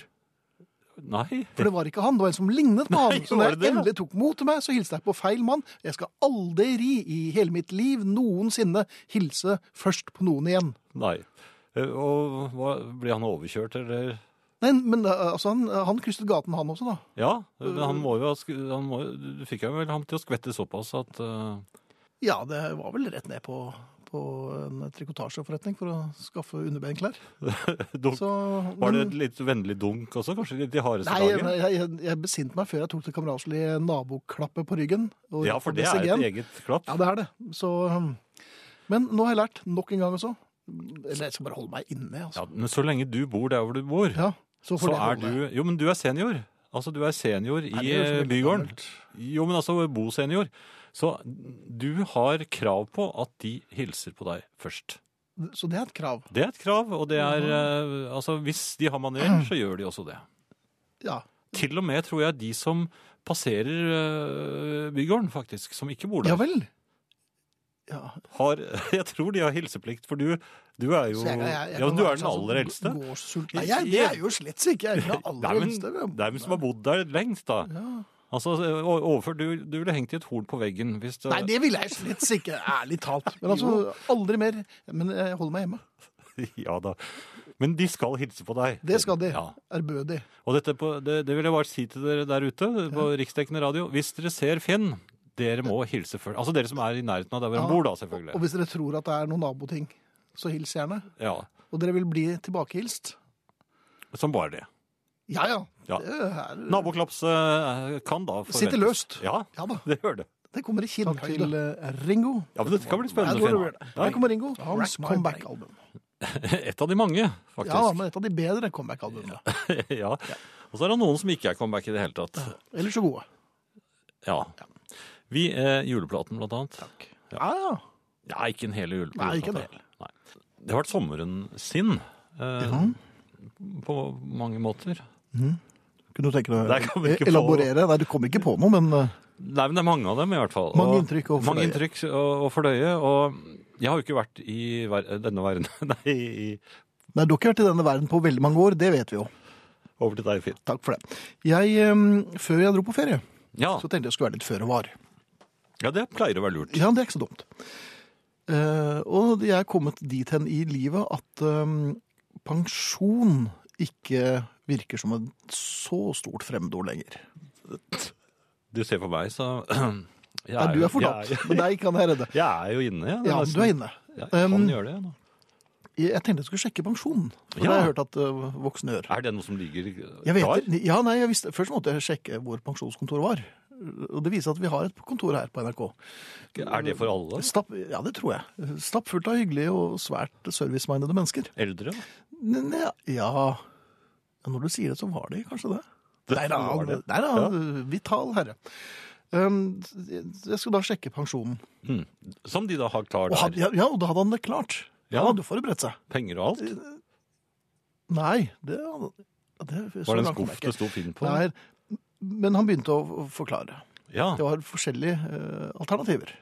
[SPEAKER 2] Nei. *laughs*
[SPEAKER 3] For det var ikke han, det var en som lignet på han. Så
[SPEAKER 2] var
[SPEAKER 3] når
[SPEAKER 2] det det?
[SPEAKER 3] jeg endelig tok mot til meg, så hilste jeg på feil mann. Jeg skal aldri i hele mitt liv noensinne hilse først på noen igjen.
[SPEAKER 2] Nei. Eh, Og hva, ble han overkjørt, eller?
[SPEAKER 3] Nei, men eh, altså, han, han krysset gaten han også, da.
[SPEAKER 2] Ja, men han må jo ha sk- han må, Du fikk jo vel ham til å skvette såpass at eh,
[SPEAKER 3] Ja, det var vel rett ned på, på en trikotasjeforretning for å skaffe underbenklær.
[SPEAKER 2] *laughs* dunk.
[SPEAKER 3] Så,
[SPEAKER 2] Var det
[SPEAKER 3] men-
[SPEAKER 2] et litt vennlig dunk også, kanskje? De hardeste
[SPEAKER 3] Nei, jeg,
[SPEAKER 2] dagen?
[SPEAKER 3] jeg, jeg besinte meg før jeg tok det kameratslige naboklappet på ryggen. og-
[SPEAKER 2] Ja, for
[SPEAKER 3] og
[SPEAKER 2] det er
[SPEAKER 3] BCG-en.
[SPEAKER 2] et eget klapp.
[SPEAKER 3] Ja, det er det. Så, um, men nå har jeg lært nok en gang også. Eller jeg skal bare holde meg inne, altså.
[SPEAKER 2] Ja, men så lenge du bor der hvor du bor,
[SPEAKER 3] Ja, så får
[SPEAKER 2] så
[SPEAKER 3] det
[SPEAKER 2] er
[SPEAKER 3] holde.
[SPEAKER 2] du Jo, men du er senior. Altså, du er senior i
[SPEAKER 3] Nei, det er jo så
[SPEAKER 2] eh,
[SPEAKER 3] veldig
[SPEAKER 2] bygården.
[SPEAKER 3] gammelt.
[SPEAKER 2] Jo, men altså bosenior. Så du har krav på at de hilser på deg først.
[SPEAKER 3] Så det er et krav.
[SPEAKER 2] Det er et krav, og det er eh, Altså, hvis de har manerer, så gjør de også det.
[SPEAKER 3] Ja.
[SPEAKER 2] Til og med tror jeg de som passerer eh, bygården, faktisk, som ikke bor
[SPEAKER 3] ja
[SPEAKER 2] der,
[SPEAKER 3] vel. Ja.
[SPEAKER 2] har *laughs* Jeg tror de har hilseplikt, for du, du er jo
[SPEAKER 3] Så jeg- jeg- jeg
[SPEAKER 2] Ja,
[SPEAKER 3] kan
[SPEAKER 2] du
[SPEAKER 3] være
[SPEAKER 2] er den
[SPEAKER 3] sånn som
[SPEAKER 2] aller eldste.
[SPEAKER 3] gåsult- Nei, jeg, det er jo slett ikke. Jeg er ikke den
[SPEAKER 2] Det
[SPEAKER 3] aller
[SPEAKER 2] er, men,
[SPEAKER 3] eldste.
[SPEAKER 2] det er men som har bodd der lengst, da. Altså, o- overfor, du, du ville hengt i et horn på veggen hvis det
[SPEAKER 3] Nei, det ville jeg slett
[SPEAKER 2] *laughs*
[SPEAKER 3] ikke. Ærlig talt. Men altså, aldri mer. Men jeg holder meg hjemme.
[SPEAKER 2] Ja da. Men de skal hilse på deg.
[SPEAKER 3] Det skal de.
[SPEAKER 2] Ja.
[SPEAKER 3] Ærbødig.
[SPEAKER 2] Og dette på, det, det vil jeg bare si til dere der ute på riksdekkende radio. Hvis dere ser Finn, dere må hilse først. Altså dere som er i nærheten av der hvor han bor, da,
[SPEAKER 3] Og
[SPEAKER 2] selvfølgelig.
[SPEAKER 3] hvis dere tror at det er noen naboting, så hils gjerne.
[SPEAKER 2] Ja,
[SPEAKER 3] Og dere vil bli tilbakehilst.
[SPEAKER 2] Som bare det.
[SPEAKER 3] Ja ja.
[SPEAKER 2] Ja.
[SPEAKER 3] Det er,
[SPEAKER 2] Naboklaps eh, kan da forventes.
[SPEAKER 3] Sitter løst.
[SPEAKER 2] Ja,
[SPEAKER 3] Ja da.
[SPEAKER 2] det gjør det.
[SPEAKER 3] det kommer i kinn til eh, Ringo.
[SPEAKER 2] Ja, men Dette kan bli
[SPEAKER 3] Her går det
[SPEAKER 2] spennende.
[SPEAKER 3] vel. Her
[SPEAKER 2] Finn.
[SPEAKER 3] kommer Ringo. Hans comeback-album.
[SPEAKER 2] Ja, et av de mange,
[SPEAKER 3] Ja,
[SPEAKER 2] faktisk.
[SPEAKER 3] men et av de bedre comeback-albumene.
[SPEAKER 2] *laughs* Ja. Og så er det noen som ikke er comeback i det hele tatt.
[SPEAKER 3] Eller så gode.
[SPEAKER 2] Ja. Vi, eh, juleplaten blant annet.
[SPEAKER 3] Ja, ja.
[SPEAKER 2] Ja, ikke en hel juleplate.
[SPEAKER 3] Nei, ikke det.
[SPEAKER 2] Nei. Det har vært sommeren sin. Eh, På mange måter.
[SPEAKER 3] Kunne du tenke
[SPEAKER 2] Der kan vi
[SPEAKER 3] deg
[SPEAKER 2] ikke få-
[SPEAKER 3] å elaborere? Nei, du kom ikke på noe, men eh,
[SPEAKER 2] Nei, men det er mange av dem i hvert fall.
[SPEAKER 3] Mange inntrykk å
[SPEAKER 2] mange
[SPEAKER 3] fordøye.
[SPEAKER 2] inntrykk å, å fordøye. Og jeg har jo ikke vært i ver denne verden. *laughs* Nei, i,
[SPEAKER 3] Nei, du har ikke vært i denne verden på veldig mange år, det vet vi jo.
[SPEAKER 2] over til deg, Finn.
[SPEAKER 3] Takk for det. Jeg, eh, før jeg dro på ferie,
[SPEAKER 2] Ja,
[SPEAKER 3] så tenkte jeg skulle være litt føre var.
[SPEAKER 2] ja, det pleier å være lurt.
[SPEAKER 3] Ja, det er ikke så dumt. Eh, og jeg er kommet dit hen i livet at eh, pensjon ehm, ikke
[SPEAKER 1] virker som et så stort fremmedord lenger.
[SPEAKER 2] Du ser på meg, så *clears throat* jeg
[SPEAKER 1] Nei, du
[SPEAKER 2] jo-
[SPEAKER 1] er forlatt,
[SPEAKER 2] Jeg, er-
[SPEAKER 1] men deg kan jeg redde.
[SPEAKER 2] jeg er jo inne, jeg. *laughs* Det
[SPEAKER 1] Ja,
[SPEAKER 2] nesten-
[SPEAKER 1] du er inne.
[SPEAKER 2] Jeg kan
[SPEAKER 1] Um,
[SPEAKER 2] gjøre det. jeg, Nå.
[SPEAKER 1] Jeg tenkte jeg skulle sjekke pensjonen, for det
[SPEAKER 2] Ja.
[SPEAKER 1] har jeg hørt at øh, voksne gjør.
[SPEAKER 2] Er det noe som ligger
[SPEAKER 1] Jeg vet,
[SPEAKER 2] klar?
[SPEAKER 1] det. ja, nei, jeg visste, først måtte jeg sjekke hvor pensjonskontoret var. Og det viser at vi har et kontor her på NRK.
[SPEAKER 2] Er det for alle?
[SPEAKER 1] Stapp, ja, det tror jeg. Stappfullt av hyggelige og svært servicemindede mennesker.
[SPEAKER 2] Eldre?
[SPEAKER 1] N- n- Ja, ja, når du sier det, så var det kanskje det. Nei da,
[SPEAKER 2] var det.
[SPEAKER 1] nei da, vital herre. Um, jeg skulle da sjekke pensjonen.
[SPEAKER 2] Mm. Som de da har klar
[SPEAKER 1] Og
[SPEAKER 2] der.
[SPEAKER 1] had, ja, ja, og da hadde han det klart.
[SPEAKER 2] Ja.
[SPEAKER 1] Han hadde jo forberedt seg.
[SPEAKER 2] Penger og alt.
[SPEAKER 1] Nei, det, ja, det så
[SPEAKER 2] Var det en
[SPEAKER 1] langt kom jeg
[SPEAKER 2] skuff
[SPEAKER 1] ikke.
[SPEAKER 2] det sto Finn på?
[SPEAKER 1] Nei, men han begynte å å forklare.
[SPEAKER 2] Ja.
[SPEAKER 1] Det var forskjellige eh, alternativer.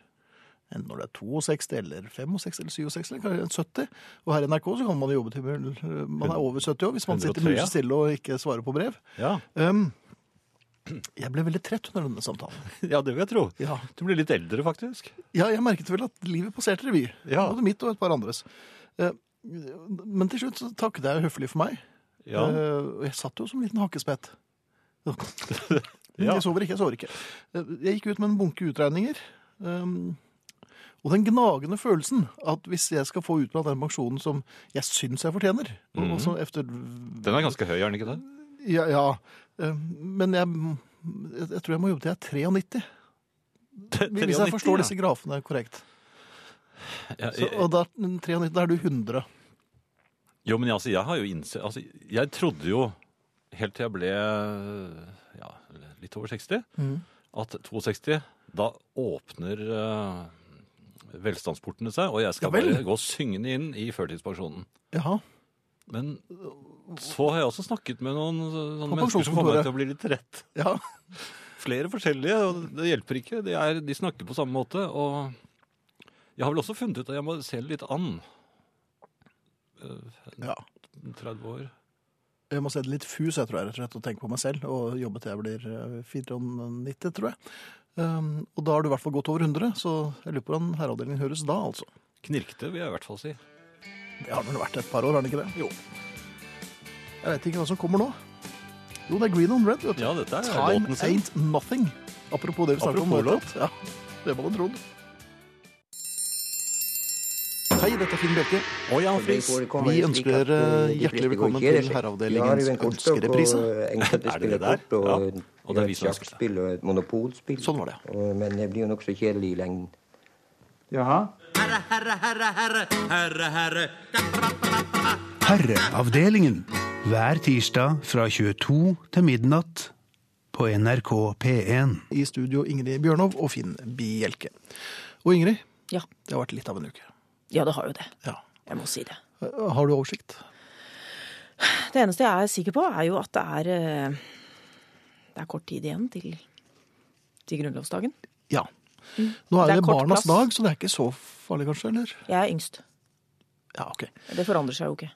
[SPEAKER 1] Enten når det er 62 eller 65 eller 67 eller kanskje 70. Og her i NRK så kan man jobbe til mul- man er over 70 år hvis man sitter
[SPEAKER 2] 103, ja.
[SPEAKER 1] mulig stille og ikke svarer på brev.
[SPEAKER 2] Ja.
[SPEAKER 1] Um, jeg ble veldig trett under denne samtalen.
[SPEAKER 2] ja, det vil jeg tro.
[SPEAKER 1] Ja.
[SPEAKER 2] Du blir litt eldre, faktisk.
[SPEAKER 1] Ja, jeg merket vel at livet passerte revy.
[SPEAKER 2] Ja.
[SPEAKER 1] Både mitt og et par andres. Eh, men til slutt så takket jeg høflig for meg.
[SPEAKER 2] Ja.
[SPEAKER 1] Eh, og jeg satt jo som en liten hakkespett. *laughs*
[SPEAKER 2] Ja.
[SPEAKER 1] Jeg sover ikke, jeg sover ikke. Eh, Jeg gikk ut med en bunke utregninger. ehm, og den gnagende følelsen at hvis jeg skal få utbetalt den pensjonen som jeg syns jeg fortjener og- og
[SPEAKER 2] Mhm.
[SPEAKER 1] som efter,
[SPEAKER 2] Den er ganske høy, er den ikke det?
[SPEAKER 1] ja, ja, eh, Men jeg, jeg, jeg tror jeg må jobbe til jeg er 93. Hvis jeg forstår disse grafene korrekt.
[SPEAKER 2] ja.
[SPEAKER 1] Så, og da, 93, da er du 100.
[SPEAKER 2] Jo, men jeg, altså, jeg har jo innsett altså, Jeg trodde jo helt til jeg ble ja, litt over 60,
[SPEAKER 1] Mm.
[SPEAKER 2] at 62 Da åpner eh, velstandsportene seg, og jeg
[SPEAKER 1] Ja
[SPEAKER 2] skal
[SPEAKER 1] vel.
[SPEAKER 2] bare gå syngende inn i førtidspensjonen.
[SPEAKER 1] Jaha.
[SPEAKER 2] Men så har jeg også snakket med noen sånne
[SPEAKER 1] På
[SPEAKER 2] mennesker som får meg
[SPEAKER 1] pensjonskontoret.
[SPEAKER 2] til å bli litt rett.
[SPEAKER 1] Ja.
[SPEAKER 2] Flere forskjellige, og det hjelper ikke. De, er, de snakker på samme måte, og jeg har vel også funnet ut at jeg må se det litt an. Eh,
[SPEAKER 1] ja.
[SPEAKER 2] 30 år.
[SPEAKER 1] Jeg må se det litt fus, jeg tror jeg, rett og slett, og tenke på meg selv, og jobbe til jeg blir eh, 94, tror jeg. Um, og da har du i hvert fall gått over 100, så jeg lurer på hvordan herreavdelingen høres da, altså.
[SPEAKER 2] Knirkte, vil jeg i hvert fall si.
[SPEAKER 1] Det har vel vært et par år, har det ikke det?
[SPEAKER 2] Jo.
[SPEAKER 1] Jeg vet ikke hva som kommer nå. Jo, det er Green on Red, vet du.
[SPEAKER 2] Ja, dette er
[SPEAKER 1] Time
[SPEAKER 2] låten sin.
[SPEAKER 1] ain't nothing. Apropos det vi snakket om.
[SPEAKER 2] Apropos
[SPEAKER 1] vet du. Ja, det må du tro. Hei, dette er Finn Bjelke.
[SPEAKER 2] Å ja, Friis.
[SPEAKER 1] Vi
[SPEAKER 8] Vi
[SPEAKER 1] ønsker
[SPEAKER 8] ønsker
[SPEAKER 1] dere
[SPEAKER 8] hjertelig velkommen til herreavdelingens *laughs* ønskereprise.
[SPEAKER 2] *laughs* Er det det der? Ja. Og det er vi som ønsker det.
[SPEAKER 8] og et monopolspill.
[SPEAKER 1] Sånn var det,
[SPEAKER 8] Og- Men det blir jo nokså kjedelig i lengden.
[SPEAKER 9] Herreavdelingen. Hver tirsdag fra 22 til midnatt på NRK P1.
[SPEAKER 1] I studio Ingrid Bjørnov og Finn Bjelke. Og Ingrid,
[SPEAKER 10] Ja.
[SPEAKER 1] det har vært litt av en uke.
[SPEAKER 10] ja, det har jo det.
[SPEAKER 1] Ja.
[SPEAKER 10] Jeg må si det.
[SPEAKER 1] Har du oversikt?
[SPEAKER 10] Det eneste jeg er sikker på, er jo at det er eh, Det er kort tid igjen til, til grunnlovsdagen.
[SPEAKER 1] Ja. Nå er
[SPEAKER 10] Mm. Det
[SPEAKER 1] det,
[SPEAKER 10] er kort
[SPEAKER 1] barnas
[SPEAKER 10] plass.
[SPEAKER 1] dag, så det er ikke så farlig kanskje, eller?
[SPEAKER 10] Jeg er yngst.
[SPEAKER 1] Ja, ok.
[SPEAKER 10] Det forandrer seg jo ikke.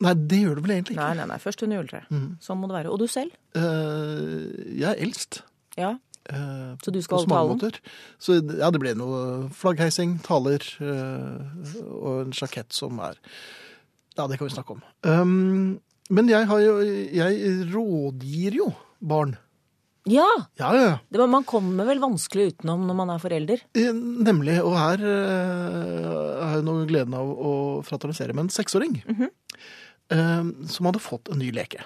[SPEAKER 1] Nei, det gjør det vel egentlig ikke.
[SPEAKER 10] Nei, nei, nei. Først under juletreet. Sånn må det være. Og du selv?
[SPEAKER 1] Eh, jeg er eldst.
[SPEAKER 10] Ja.
[SPEAKER 1] eh,
[SPEAKER 10] Så du
[SPEAKER 1] på
[SPEAKER 10] skal
[SPEAKER 1] så
[SPEAKER 10] holde
[SPEAKER 1] mange
[SPEAKER 10] talen?
[SPEAKER 1] måter. Så ja, det ble noe flaggheising, taler eh, og en sjakett som er Ja, det kan vi snakke om. Um, men jeg har jo Jeg rådgir jo barn.
[SPEAKER 10] Ja!
[SPEAKER 1] Ja, ja, ja.
[SPEAKER 10] Det var, man kommer vel vanskelig utenom når man er forelder.
[SPEAKER 1] Eh, Nemlig. Og her eh, har jeg nå gleden av å fraternisere med en seksåring.
[SPEAKER 10] Mhm.
[SPEAKER 1] eh, som hadde fått en ny leke.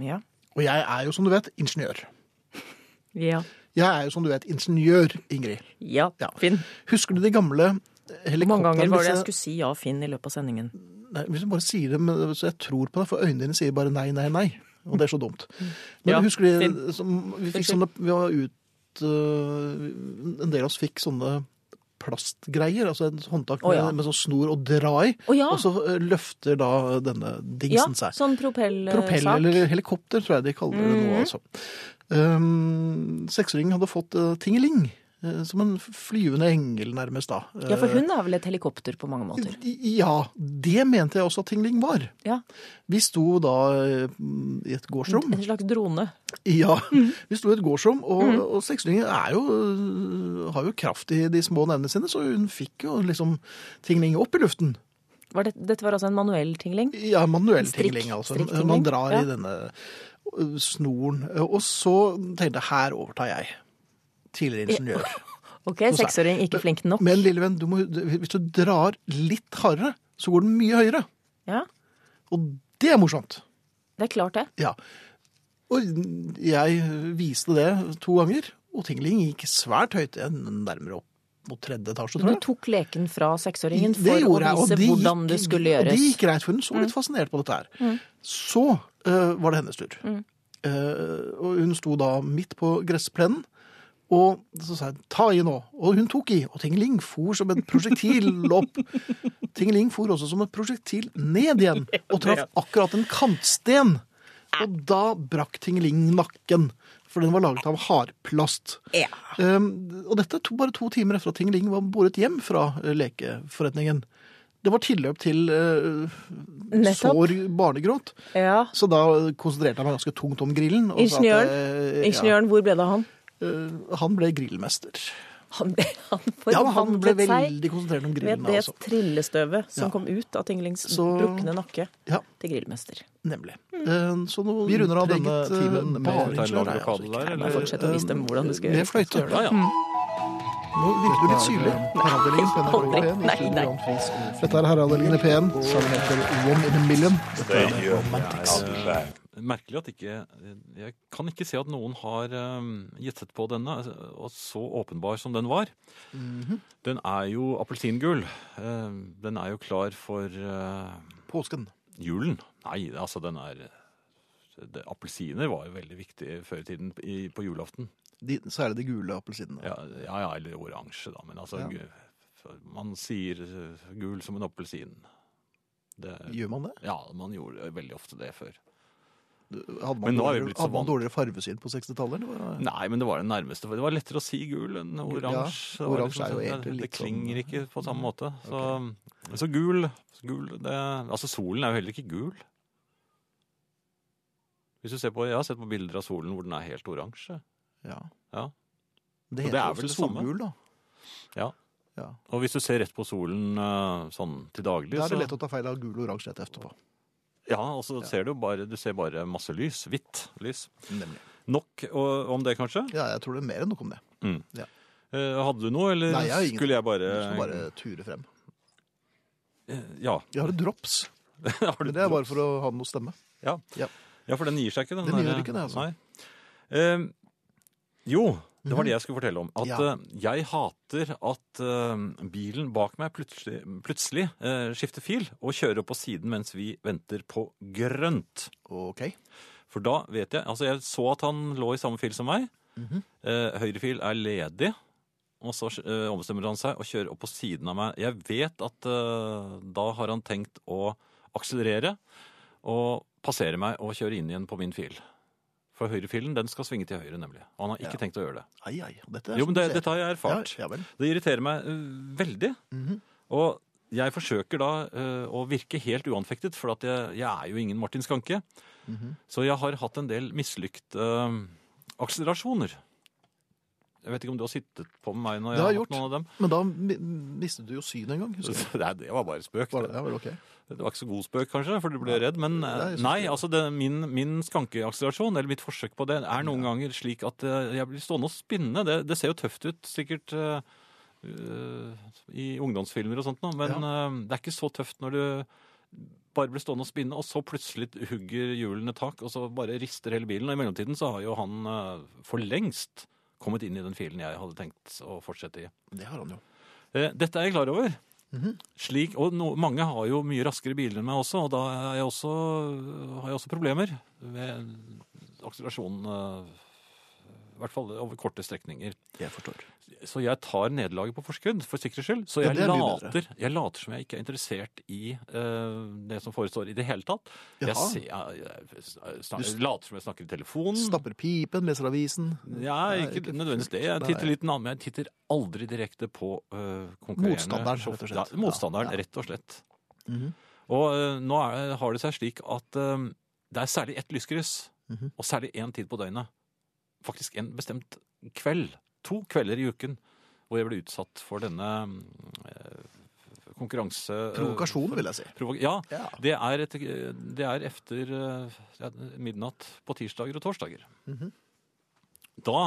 [SPEAKER 10] Ja.
[SPEAKER 1] Og jeg er jo, som du vet, ingeniør.
[SPEAKER 10] Ja.
[SPEAKER 1] Jeg er jo, som du vet, ingeniør, Ingrid.
[SPEAKER 10] ja.
[SPEAKER 1] Ja.
[SPEAKER 10] Finn.
[SPEAKER 1] Husker du de gamle
[SPEAKER 10] Hvor mange ganger
[SPEAKER 1] helikoptrene?
[SPEAKER 10] var det jeg
[SPEAKER 1] disse-
[SPEAKER 10] skulle si ja, Finn, i løpet av sendingen?
[SPEAKER 1] Nei, Hvis du bare sier det, men- så jeg tror på det, for øynene dine sier bare nei, nei, nei. Og det er så dumt. Men
[SPEAKER 10] Mm. Ja,
[SPEAKER 1] husker du
[SPEAKER 10] Finn.
[SPEAKER 1] som vi fikk
[SPEAKER 10] Unnskyld.
[SPEAKER 1] sånne Vi var ut øh, En del av oss fikk sånne plastgreier, altså en håndtak
[SPEAKER 10] Å, ja.
[SPEAKER 1] med, med sånn snor å dra i.
[SPEAKER 10] Å, ja.
[SPEAKER 1] Og så øh, løfter da denne
[SPEAKER 10] Ja,
[SPEAKER 1] dingsen seg.
[SPEAKER 10] sånn Mm. propellsak.
[SPEAKER 1] Propell eller helikopter, tror jeg de kaller det nå, altså. Um, Seksåringen hadde fått uh, tingeling, eh, som en flyvende engel nærmest da.
[SPEAKER 10] Ja, for
[SPEAKER 1] eh,
[SPEAKER 10] hun er vel et helikopter på mange måter.
[SPEAKER 1] Ja, det mente jeg også at Tingling var.
[SPEAKER 10] Ja.
[SPEAKER 1] Vi sto da eh, i et gårdsrom.
[SPEAKER 10] En slags drone.
[SPEAKER 1] *laughs* Ja,
[SPEAKER 10] Mm.
[SPEAKER 1] vi sto i et gårdsrom, og, og seksåringen er jo, eh, øh, har jo kraft i de små nevnene sine, så hun fikk jo liksom Tingling opp i luften.
[SPEAKER 10] Var det, dette var altså en manuell tingling?
[SPEAKER 1] Ja, manuell
[SPEAKER 10] Strikk-
[SPEAKER 1] tingling, altså.
[SPEAKER 10] strikktingling,
[SPEAKER 1] Man drar
[SPEAKER 10] ja.
[SPEAKER 1] i denne ø, snoren. Eh, Og så tenkte jeg her overtar jeg. Tidligere
[SPEAKER 10] *laughs*
[SPEAKER 1] ingeniør.
[SPEAKER 10] Ok, seksåring, ikke flink nok.
[SPEAKER 1] Men lille venn, du må, hvis du drar litt hardere, så går den mye høyere.
[SPEAKER 10] Ja,
[SPEAKER 1] Og det er morsomt.
[SPEAKER 10] det er klart det.
[SPEAKER 1] Ja. Og jeg viste det to ganger, og tingling gikk svært høyt. Jeg nærmere opp mot tredje etasje,
[SPEAKER 10] Du
[SPEAKER 1] tror jeg.
[SPEAKER 10] tok leken fra seksåringen
[SPEAKER 1] Det
[SPEAKER 10] for å
[SPEAKER 1] gjorde jeg, og
[SPEAKER 10] vise
[SPEAKER 1] det
[SPEAKER 10] hvordan
[SPEAKER 1] gikk-
[SPEAKER 10] det skulle
[SPEAKER 1] Og det
[SPEAKER 10] gjøres. Mm.
[SPEAKER 1] gikk greit, for hun så litt fascinert på dette her. Så eh, var det hennes tur.
[SPEAKER 10] Mm.
[SPEAKER 1] Eh, og hun sto da midt på gressplenen, og så sa jeg 'ta i nå'. Og hun tok i, og Tingeling for som et prosjektil opp. Tingeling for også som et prosjektil ned igjen, og traff akkurat en kantsten. Og da brakk Tingeling nakken, for den var laget av hardplast. Um, og dette to, bare to timer etter at Tingeling var båret hjem fra eh, lekeforretningen. Det var tilløp til eh,
[SPEAKER 10] Nettopp.
[SPEAKER 1] sår barnegråt,
[SPEAKER 10] Ja.
[SPEAKER 1] så da konsentrerte jeg meg ganske tungt om grillen. og sa at,
[SPEAKER 10] Ingeniøren,
[SPEAKER 1] eh,
[SPEAKER 10] ingeniøren hvor ble det av han?
[SPEAKER 1] Ja, Eh, han ble grillmester.
[SPEAKER 10] Han, *laughs* han
[SPEAKER 1] Ja, han ble
[SPEAKER 10] forvandlet seg
[SPEAKER 1] veldig konsentrert om
[SPEAKER 10] ved
[SPEAKER 1] grillen.
[SPEAKER 10] det
[SPEAKER 1] Altså.
[SPEAKER 10] trillestøvet som
[SPEAKER 1] Ja.
[SPEAKER 10] kom ut av Tinglings
[SPEAKER 1] Så-
[SPEAKER 10] brukne nakke
[SPEAKER 1] Ja,
[SPEAKER 10] til grillmester.
[SPEAKER 1] nemlig.
[SPEAKER 10] Mm.
[SPEAKER 1] Eh, så nå
[SPEAKER 11] Vi runder av denne
[SPEAKER 1] preget, eh,
[SPEAKER 11] timen med
[SPEAKER 1] barneingeniør
[SPEAKER 2] Det er en lang
[SPEAKER 1] er jeg altså
[SPEAKER 2] blokade
[SPEAKER 1] ikke.
[SPEAKER 2] der,
[SPEAKER 10] Nei,
[SPEAKER 2] eller?
[SPEAKER 10] fortsett å vise dem hvordan det skal
[SPEAKER 1] eh, Med
[SPEAKER 10] gjøres.
[SPEAKER 1] fløyte. Mm.
[SPEAKER 2] Ja, ja.
[SPEAKER 1] Nå virker du litt syrlig.
[SPEAKER 2] eh,
[SPEAKER 3] Herreavdelingen på NRK P1.
[SPEAKER 10] Aldri.
[SPEAKER 3] i
[SPEAKER 10] Nei,
[SPEAKER 3] studio
[SPEAKER 10] nei.
[SPEAKER 3] Jan Friis Olsen. Dette er Herreavdelingen i P1. Sangen heter One in a Million. Dette er Romantics.
[SPEAKER 2] Merkelig at ikke Jeg kan ikke se at noen har eh, gjettet på denne, altså, og så åpenbar som den var. Den er jo appelsingull. Eh, den er jo klar for eh,
[SPEAKER 1] Påsken.
[SPEAKER 2] julen. Nei, altså den er det, Appelsiner var jo veldig viktig før i tiden i, på julaften.
[SPEAKER 1] De, særlig de gule appelsinene.
[SPEAKER 2] Ja, ja, ja eller oransje, da. Men altså gu- Man sier eh, gul som en appelsin. Det,
[SPEAKER 1] Gjør man det?
[SPEAKER 2] ja, man gjorde veldig ofte det før.
[SPEAKER 1] Hadde man,
[SPEAKER 2] Men nå er vi
[SPEAKER 1] dårligere,
[SPEAKER 2] blitt så
[SPEAKER 1] hadde man
[SPEAKER 2] vant.
[SPEAKER 1] dårligere fargesyn på 60-tallet? eller hva?
[SPEAKER 2] Nei, men det var det nærmeste. Det var lettere å si gul enn
[SPEAKER 1] Ja,
[SPEAKER 2] oransje. Det var
[SPEAKER 1] oransje er jo
[SPEAKER 2] sånn-
[SPEAKER 1] egentlig
[SPEAKER 2] det-
[SPEAKER 1] litt mm.
[SPEAKER 2] Det klinger ikke på samme måte. Så, så gul, gul det, Altså, solen er jo heller ikke gul. Hvis du ser på, Jeg har sett på bilder av solen hvor den er helt oransje.
[SPEAKER 1] Ja.
[SPEAKER 2] Ja.
[SPEAKER 1] Det
[SPEAKER 2] Og det
[SPEAKER 1] heter
[SPEAKER 2] er
[SPEAKER 1] ofte
[SPEAKER 2] vel det samme.
[SPEAKER 1] solgul, da.
[SPEAKER 2] Og hvis du ser rett på solen eh, sånn til daglig,
[SPEAKER 1] Da er det
[SPEAKER 2] så
[SPEAKER 1] lett å ta feil av gul og oransje rett etterpå.
[SPEAKER 2] ja, og så ser du, jo bare, du ser bare masse lys. Hvitt lys.
[SPEAKER 1] Nemlig.
[SPEAKER 2] Nok og, om det, kanskje?
[SPEAKER 1] Ja, jeg tror det er mer enn nok om det.
[SPEAKER 2] Eh, hadde du noe, eller
[SPEAKER 1] Nei, jeg har ingen-
[SPEAKER 2] skulle jeg bare,
[SPEAKER 1] Du skal bare ture frem.
[SPEAKER 2] Ja. *laughs*
[SPEAKER 1] Jeg har et drops,
[SPEAKER 2] Har du
[SPEAKER 1] men det er bare for å ha noe å stemme.
[SPEAKER 2] Ja.
[SPEAKER 1] Ja.
[SPEAKER 2] ja, for den gir seg ikke. Den,
[SPEAKER 1] Den
[SPEAKER 2] der-
[SPEAKER 1] gjør ikke det, altså. Mhm.
[SPEAKER 2] Nei. Eh, jo, det var det jeg skulle fortelle om. At
[SPEAKER 1] Ja.
[SPEAKER 2] eh, jeg hater at eh, bilen bak meg plutselig, plutselig eh, skifter fil og kjører opp på siden mens vi venter på grønt.
[SPEAKER 1] OK.
[SPEAKER 2] For da vet jeg Altså, jeg så at han lå i samme fil som meg.
[SPEAKER 1] Mhm.
[SPEAKER 2] eh, høyre fil er ledig. Og så eh, ombestemmer han seg og kjører opp på siden av meg. Jeg vet at eh, da har han tenkt å akselerere og passere meg og kjøre inn igjen på min fil. For høyrefilen den skal svinge til høyre, nemlig. Og han har ikke tenkt å gjøre det.
[SPEAKER 1] Ai, ai. Dette er
[SPEAKER 2] Jo,
[SPEAKER 1] som
[SPEAKER 2] men
[SPEAKER 1] du
[SPEAKER 2] det,
[SPEAKER 1] ser.
[SPEAKER 2] dette har jeg erfart.
[SPEAKER 1] Ja, ja vel.
[SPEAKER 2] Det irriterer meg øh, veldig.
[SPEAKER 1] Mhm.
[SPEAKER 2] Og jeg forsøker da øh, å virke helt uanfektet, for at jeg, jeg er jo ingen Martin Skanke.
[SPEAKER 1] Mhm.
[SPEAKER 2] Så jeg har hatt en del mislykt øh, akselerasjoner. Jeg vet ikke om du har sittet på med meg når jeg
[SPEAKER 1] Det
[SPEAKER 2] har
[SPEAKER 1] har
[SPEAKER 2] hatt
[SPEAKER 1] jeg gjort.
[SPEAKER 2] noen av dem?
[SPEAKER 1] Men da
[SPEAKER 2] *laughs*
[SPEAKER 1] mi- mistet du jo synet en gang. Husker jeg.
[SPEAKER 2] Nei, det var bare spøk.
[SPEAKER 1] Var det, ja, vel, ok.
[SPEAKER 2] Det var ikke så god spøk, kanskje, for du ble redd. Men
[SPEAKER 1] Nei,
[SPEAKER 2] eh,
[SPEAKER 1] jeg synes
[SPEAKER 2] nei,
[SPEAKER 1] det.
[SPEAKER 2] altså det, min, min skankeakselerasjon, eller mitt forsøk på det, er noen ganger slik at eh, jeg blir stående og spinne. Det, det ser jo tøft ut, sikkert, eh, eh, i ungdomsfilmer og sånt nå, men eh, det er ikke så tøft når du bare blir stående og spinne, og så plutselig hugger hjulene tak, og så bare rister hele bilen. Og i mellomtiden så har jo han eh, for lengst kommet inn i den filen jeg hadde tenkt å fortsette i.
[SPEAKER 1] Det har han jo.
[SPEAKER 2] Eh, Dette er jeg klar over. Slik, og no, mange har jo mye raskere biler enn meg også, og da er jeg også, har jeg også problemer ved akselerasjonen. eh, I hvert fall over korte strekninger.
[SPEAKER 1] Jeg forstår.
[SPEAKER 2] Så jeg tar nederlaget på forskudd, for sikkerhets skyld. Så
[SPEAKER 1] Ja,
[SPEAKER 2] jeg,
[SPEAKER 1] det er mye bedre.
[SPEAKER 2] later, jeg later som jeg ikke er interessert i eh, det som forestår i det hele tatt. Jeg,
[SPEAKER 1] Jaha.
[SPEAKER 2] ser, jeg, jeg, snak- later som jeg snakker i telefonen.
[SPEAKER 1] Stapper pipen, leser avisen.
[SPEAKER 2] Ja,
[SPEAKER 1] Nei,
[SPEAKER 2] ikke
[SPEAKER 1] ikke
[SPEAKER 2] nødvendigvis det. Jeg
[SPEAKER 1] fullt.
[SPEAKER 2] titter
[SPEAKER 1] Nei.
[SPEAKER 2] litt annen, men jeg titter aldri direkte på øh, konkurrerende
[SPEAKER 1] Motstanderen, rett og slett.
[SPEAKER 2] Ja, motstanderen,
[SPEAKER 1] Ja, ja.
[SPEAKER 2] rett og slett.
[SPEAKER 1] Mhm.
[SPEAKER 2] Og øh, nå er, har det seg slik at øh, det er særlig ett lyskryss,
[SPEAKER 1] Mhm.
[SPEAKER 2] og særlig én tid på døgnet. Faktisk en bestemt kveld. To kvelder i uken hvor jeg ble utsatt for denne øh, konkurranse eh,
[SPEAKER 1] Provokasjon, vil jeg si.
[SPEAKER 2] Provok ja,
[SPEAKER 1] Ja.
[SPEAKER 2] Det, er et, eh, det er efter eh, ja, midnatt på tirsdager og torsdager. Da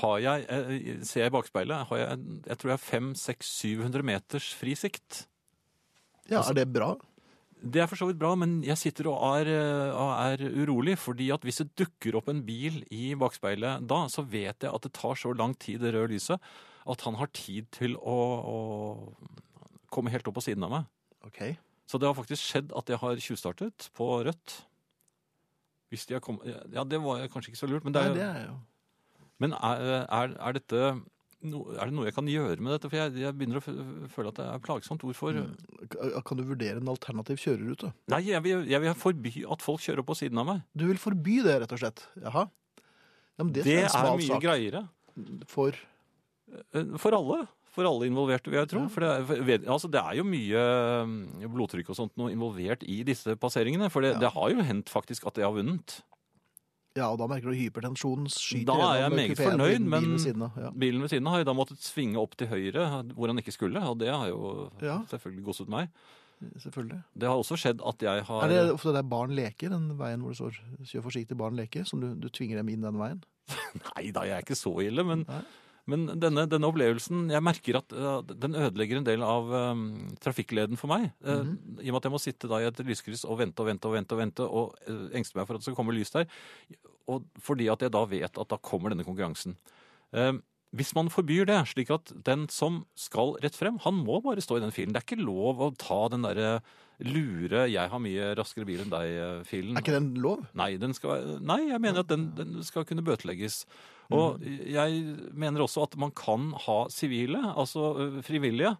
[SPEAKER 2] har jeg, eh, ser jeg i bakspeilet, har jeg, jeg tror jeg har 500-700 meters fri sikt.
[SPEAKER 1] Ja, Er det bra?
[SPEAKER 2] Det er for så vidt bra, men jeg sitter og er, eh, og er urolig, fordi at hvis det dukker opp en bil i bakspeilet da, så vet jeg at det tar så lang tid, det røde lyset, at han har tid til å, å komme helt opp på siden av meg.
[SPEAKER 1] OK.
[SPEAKER 2] Så det har faktisk skjedd at jeg har tjuvstartet på rødt. Hvis de har kommet Ja, det var kanskje ikke så lurt, men, det
[SPEAKER 1] Nei,
[SPEAKER 2] er,
[SPEAKER 1] det er jo
[SPEAKER 2] men er, er, er dette no, Er det noe jeg kan gjøre med dette? For jeg, jeg begynner å f- føle at det er plagsomt. Hvorfor
[SPEAKER 1] Mm. K- Kan du vurdere en alternativ kjørerute?
[SPEAKER 2] Nei, jeg vil, jeg vil forby at folk kjører på siden av meg.
[SPEAKER 1] Du vil forby det, rett og slett? Jaha. Ja, men det,
[SPEAKER 2] Det,
[SPEAKER 1] tror jeg
[SPEAKER 2] er
[SPEAKER 1] en smal
[SPEAKER 2] mye
[SPEAKER 1] sak
[SPEAKER 2] greiere.
[SPEAKER 1] For
[SPEAKER 2] Eh, For alle. For alle involverte, vil jeg tro. For det er, for, ved- altså, det er jo mye mm, blodtrykk og sånt noe involvert i disse passeringene. For det, det har jo hendt faktisk at jeg har vunnet.
[SPEAKER 1] Ja, og da merker du hypertensjonen skyter
[SPEAKER 2] Da er jeg
[SPEAKER 1] gjennom
[SPEAKER 2] meget
[SPEAKER 1] kupeen
[SPEAKER 2] fornøyd,
[SPEAKER 1] din,
[SPEAKER 2] men-
[SPEAKER 1] bilen ved siden av, ja.
[SPEAKER 2] Bilen ved siden av har jo da måttet svinge opp til høyre, hvor han ikke skulle. Og det har jo
[SPEAKER 1] Ja.
[SPEAKER 2] selvfølgelig godset meg.
[SPEAKER 1] Selvfølgelig.
[SPEAKER 2] Det har også skjedd at jeg har
[SPEAKER 1] Er det ofte der barn leker, den veien hvor det står 'kjør forsiktig, barn leker', som du, du tvinger dem inn den veien?
[SPEAKER 2] Nei da, jeg er ikke så ille, men,
[SPEAKER 1] Nei.
[SPEAKER 2] men denne, denne opplevelsen Jeg merker at eh, den ødelegger en del av eh, trafikkleden for meg. Eh,
[SPEAKER 1] Mhm.
[SPEAKER 2] I og med at jeg må sitte da i et lyskryss og vente og vente og vente og vente, og eh, engste meg for at det skal komme lys der. Og fordi at jeg da vet at da kommer denne konkurransen. Eh, hvis man forbyr det, slik at den som skal rett frem, han må bare stå i den filen. Det er ikke lov å ta den derre lure 'jeg har mye raskere bil enn eh, deg'-filen.
[SPEAKER 1] Er ikke den lov?
[SPEAKER 2] Nei, den skal, nei, jeg mener at den, den skal kunne bøtelegges. Og
[SPEAKER 1] Mm.
[SPEAKER 2] jeg mener også at man kan ha sivile, altså ø, frivillige,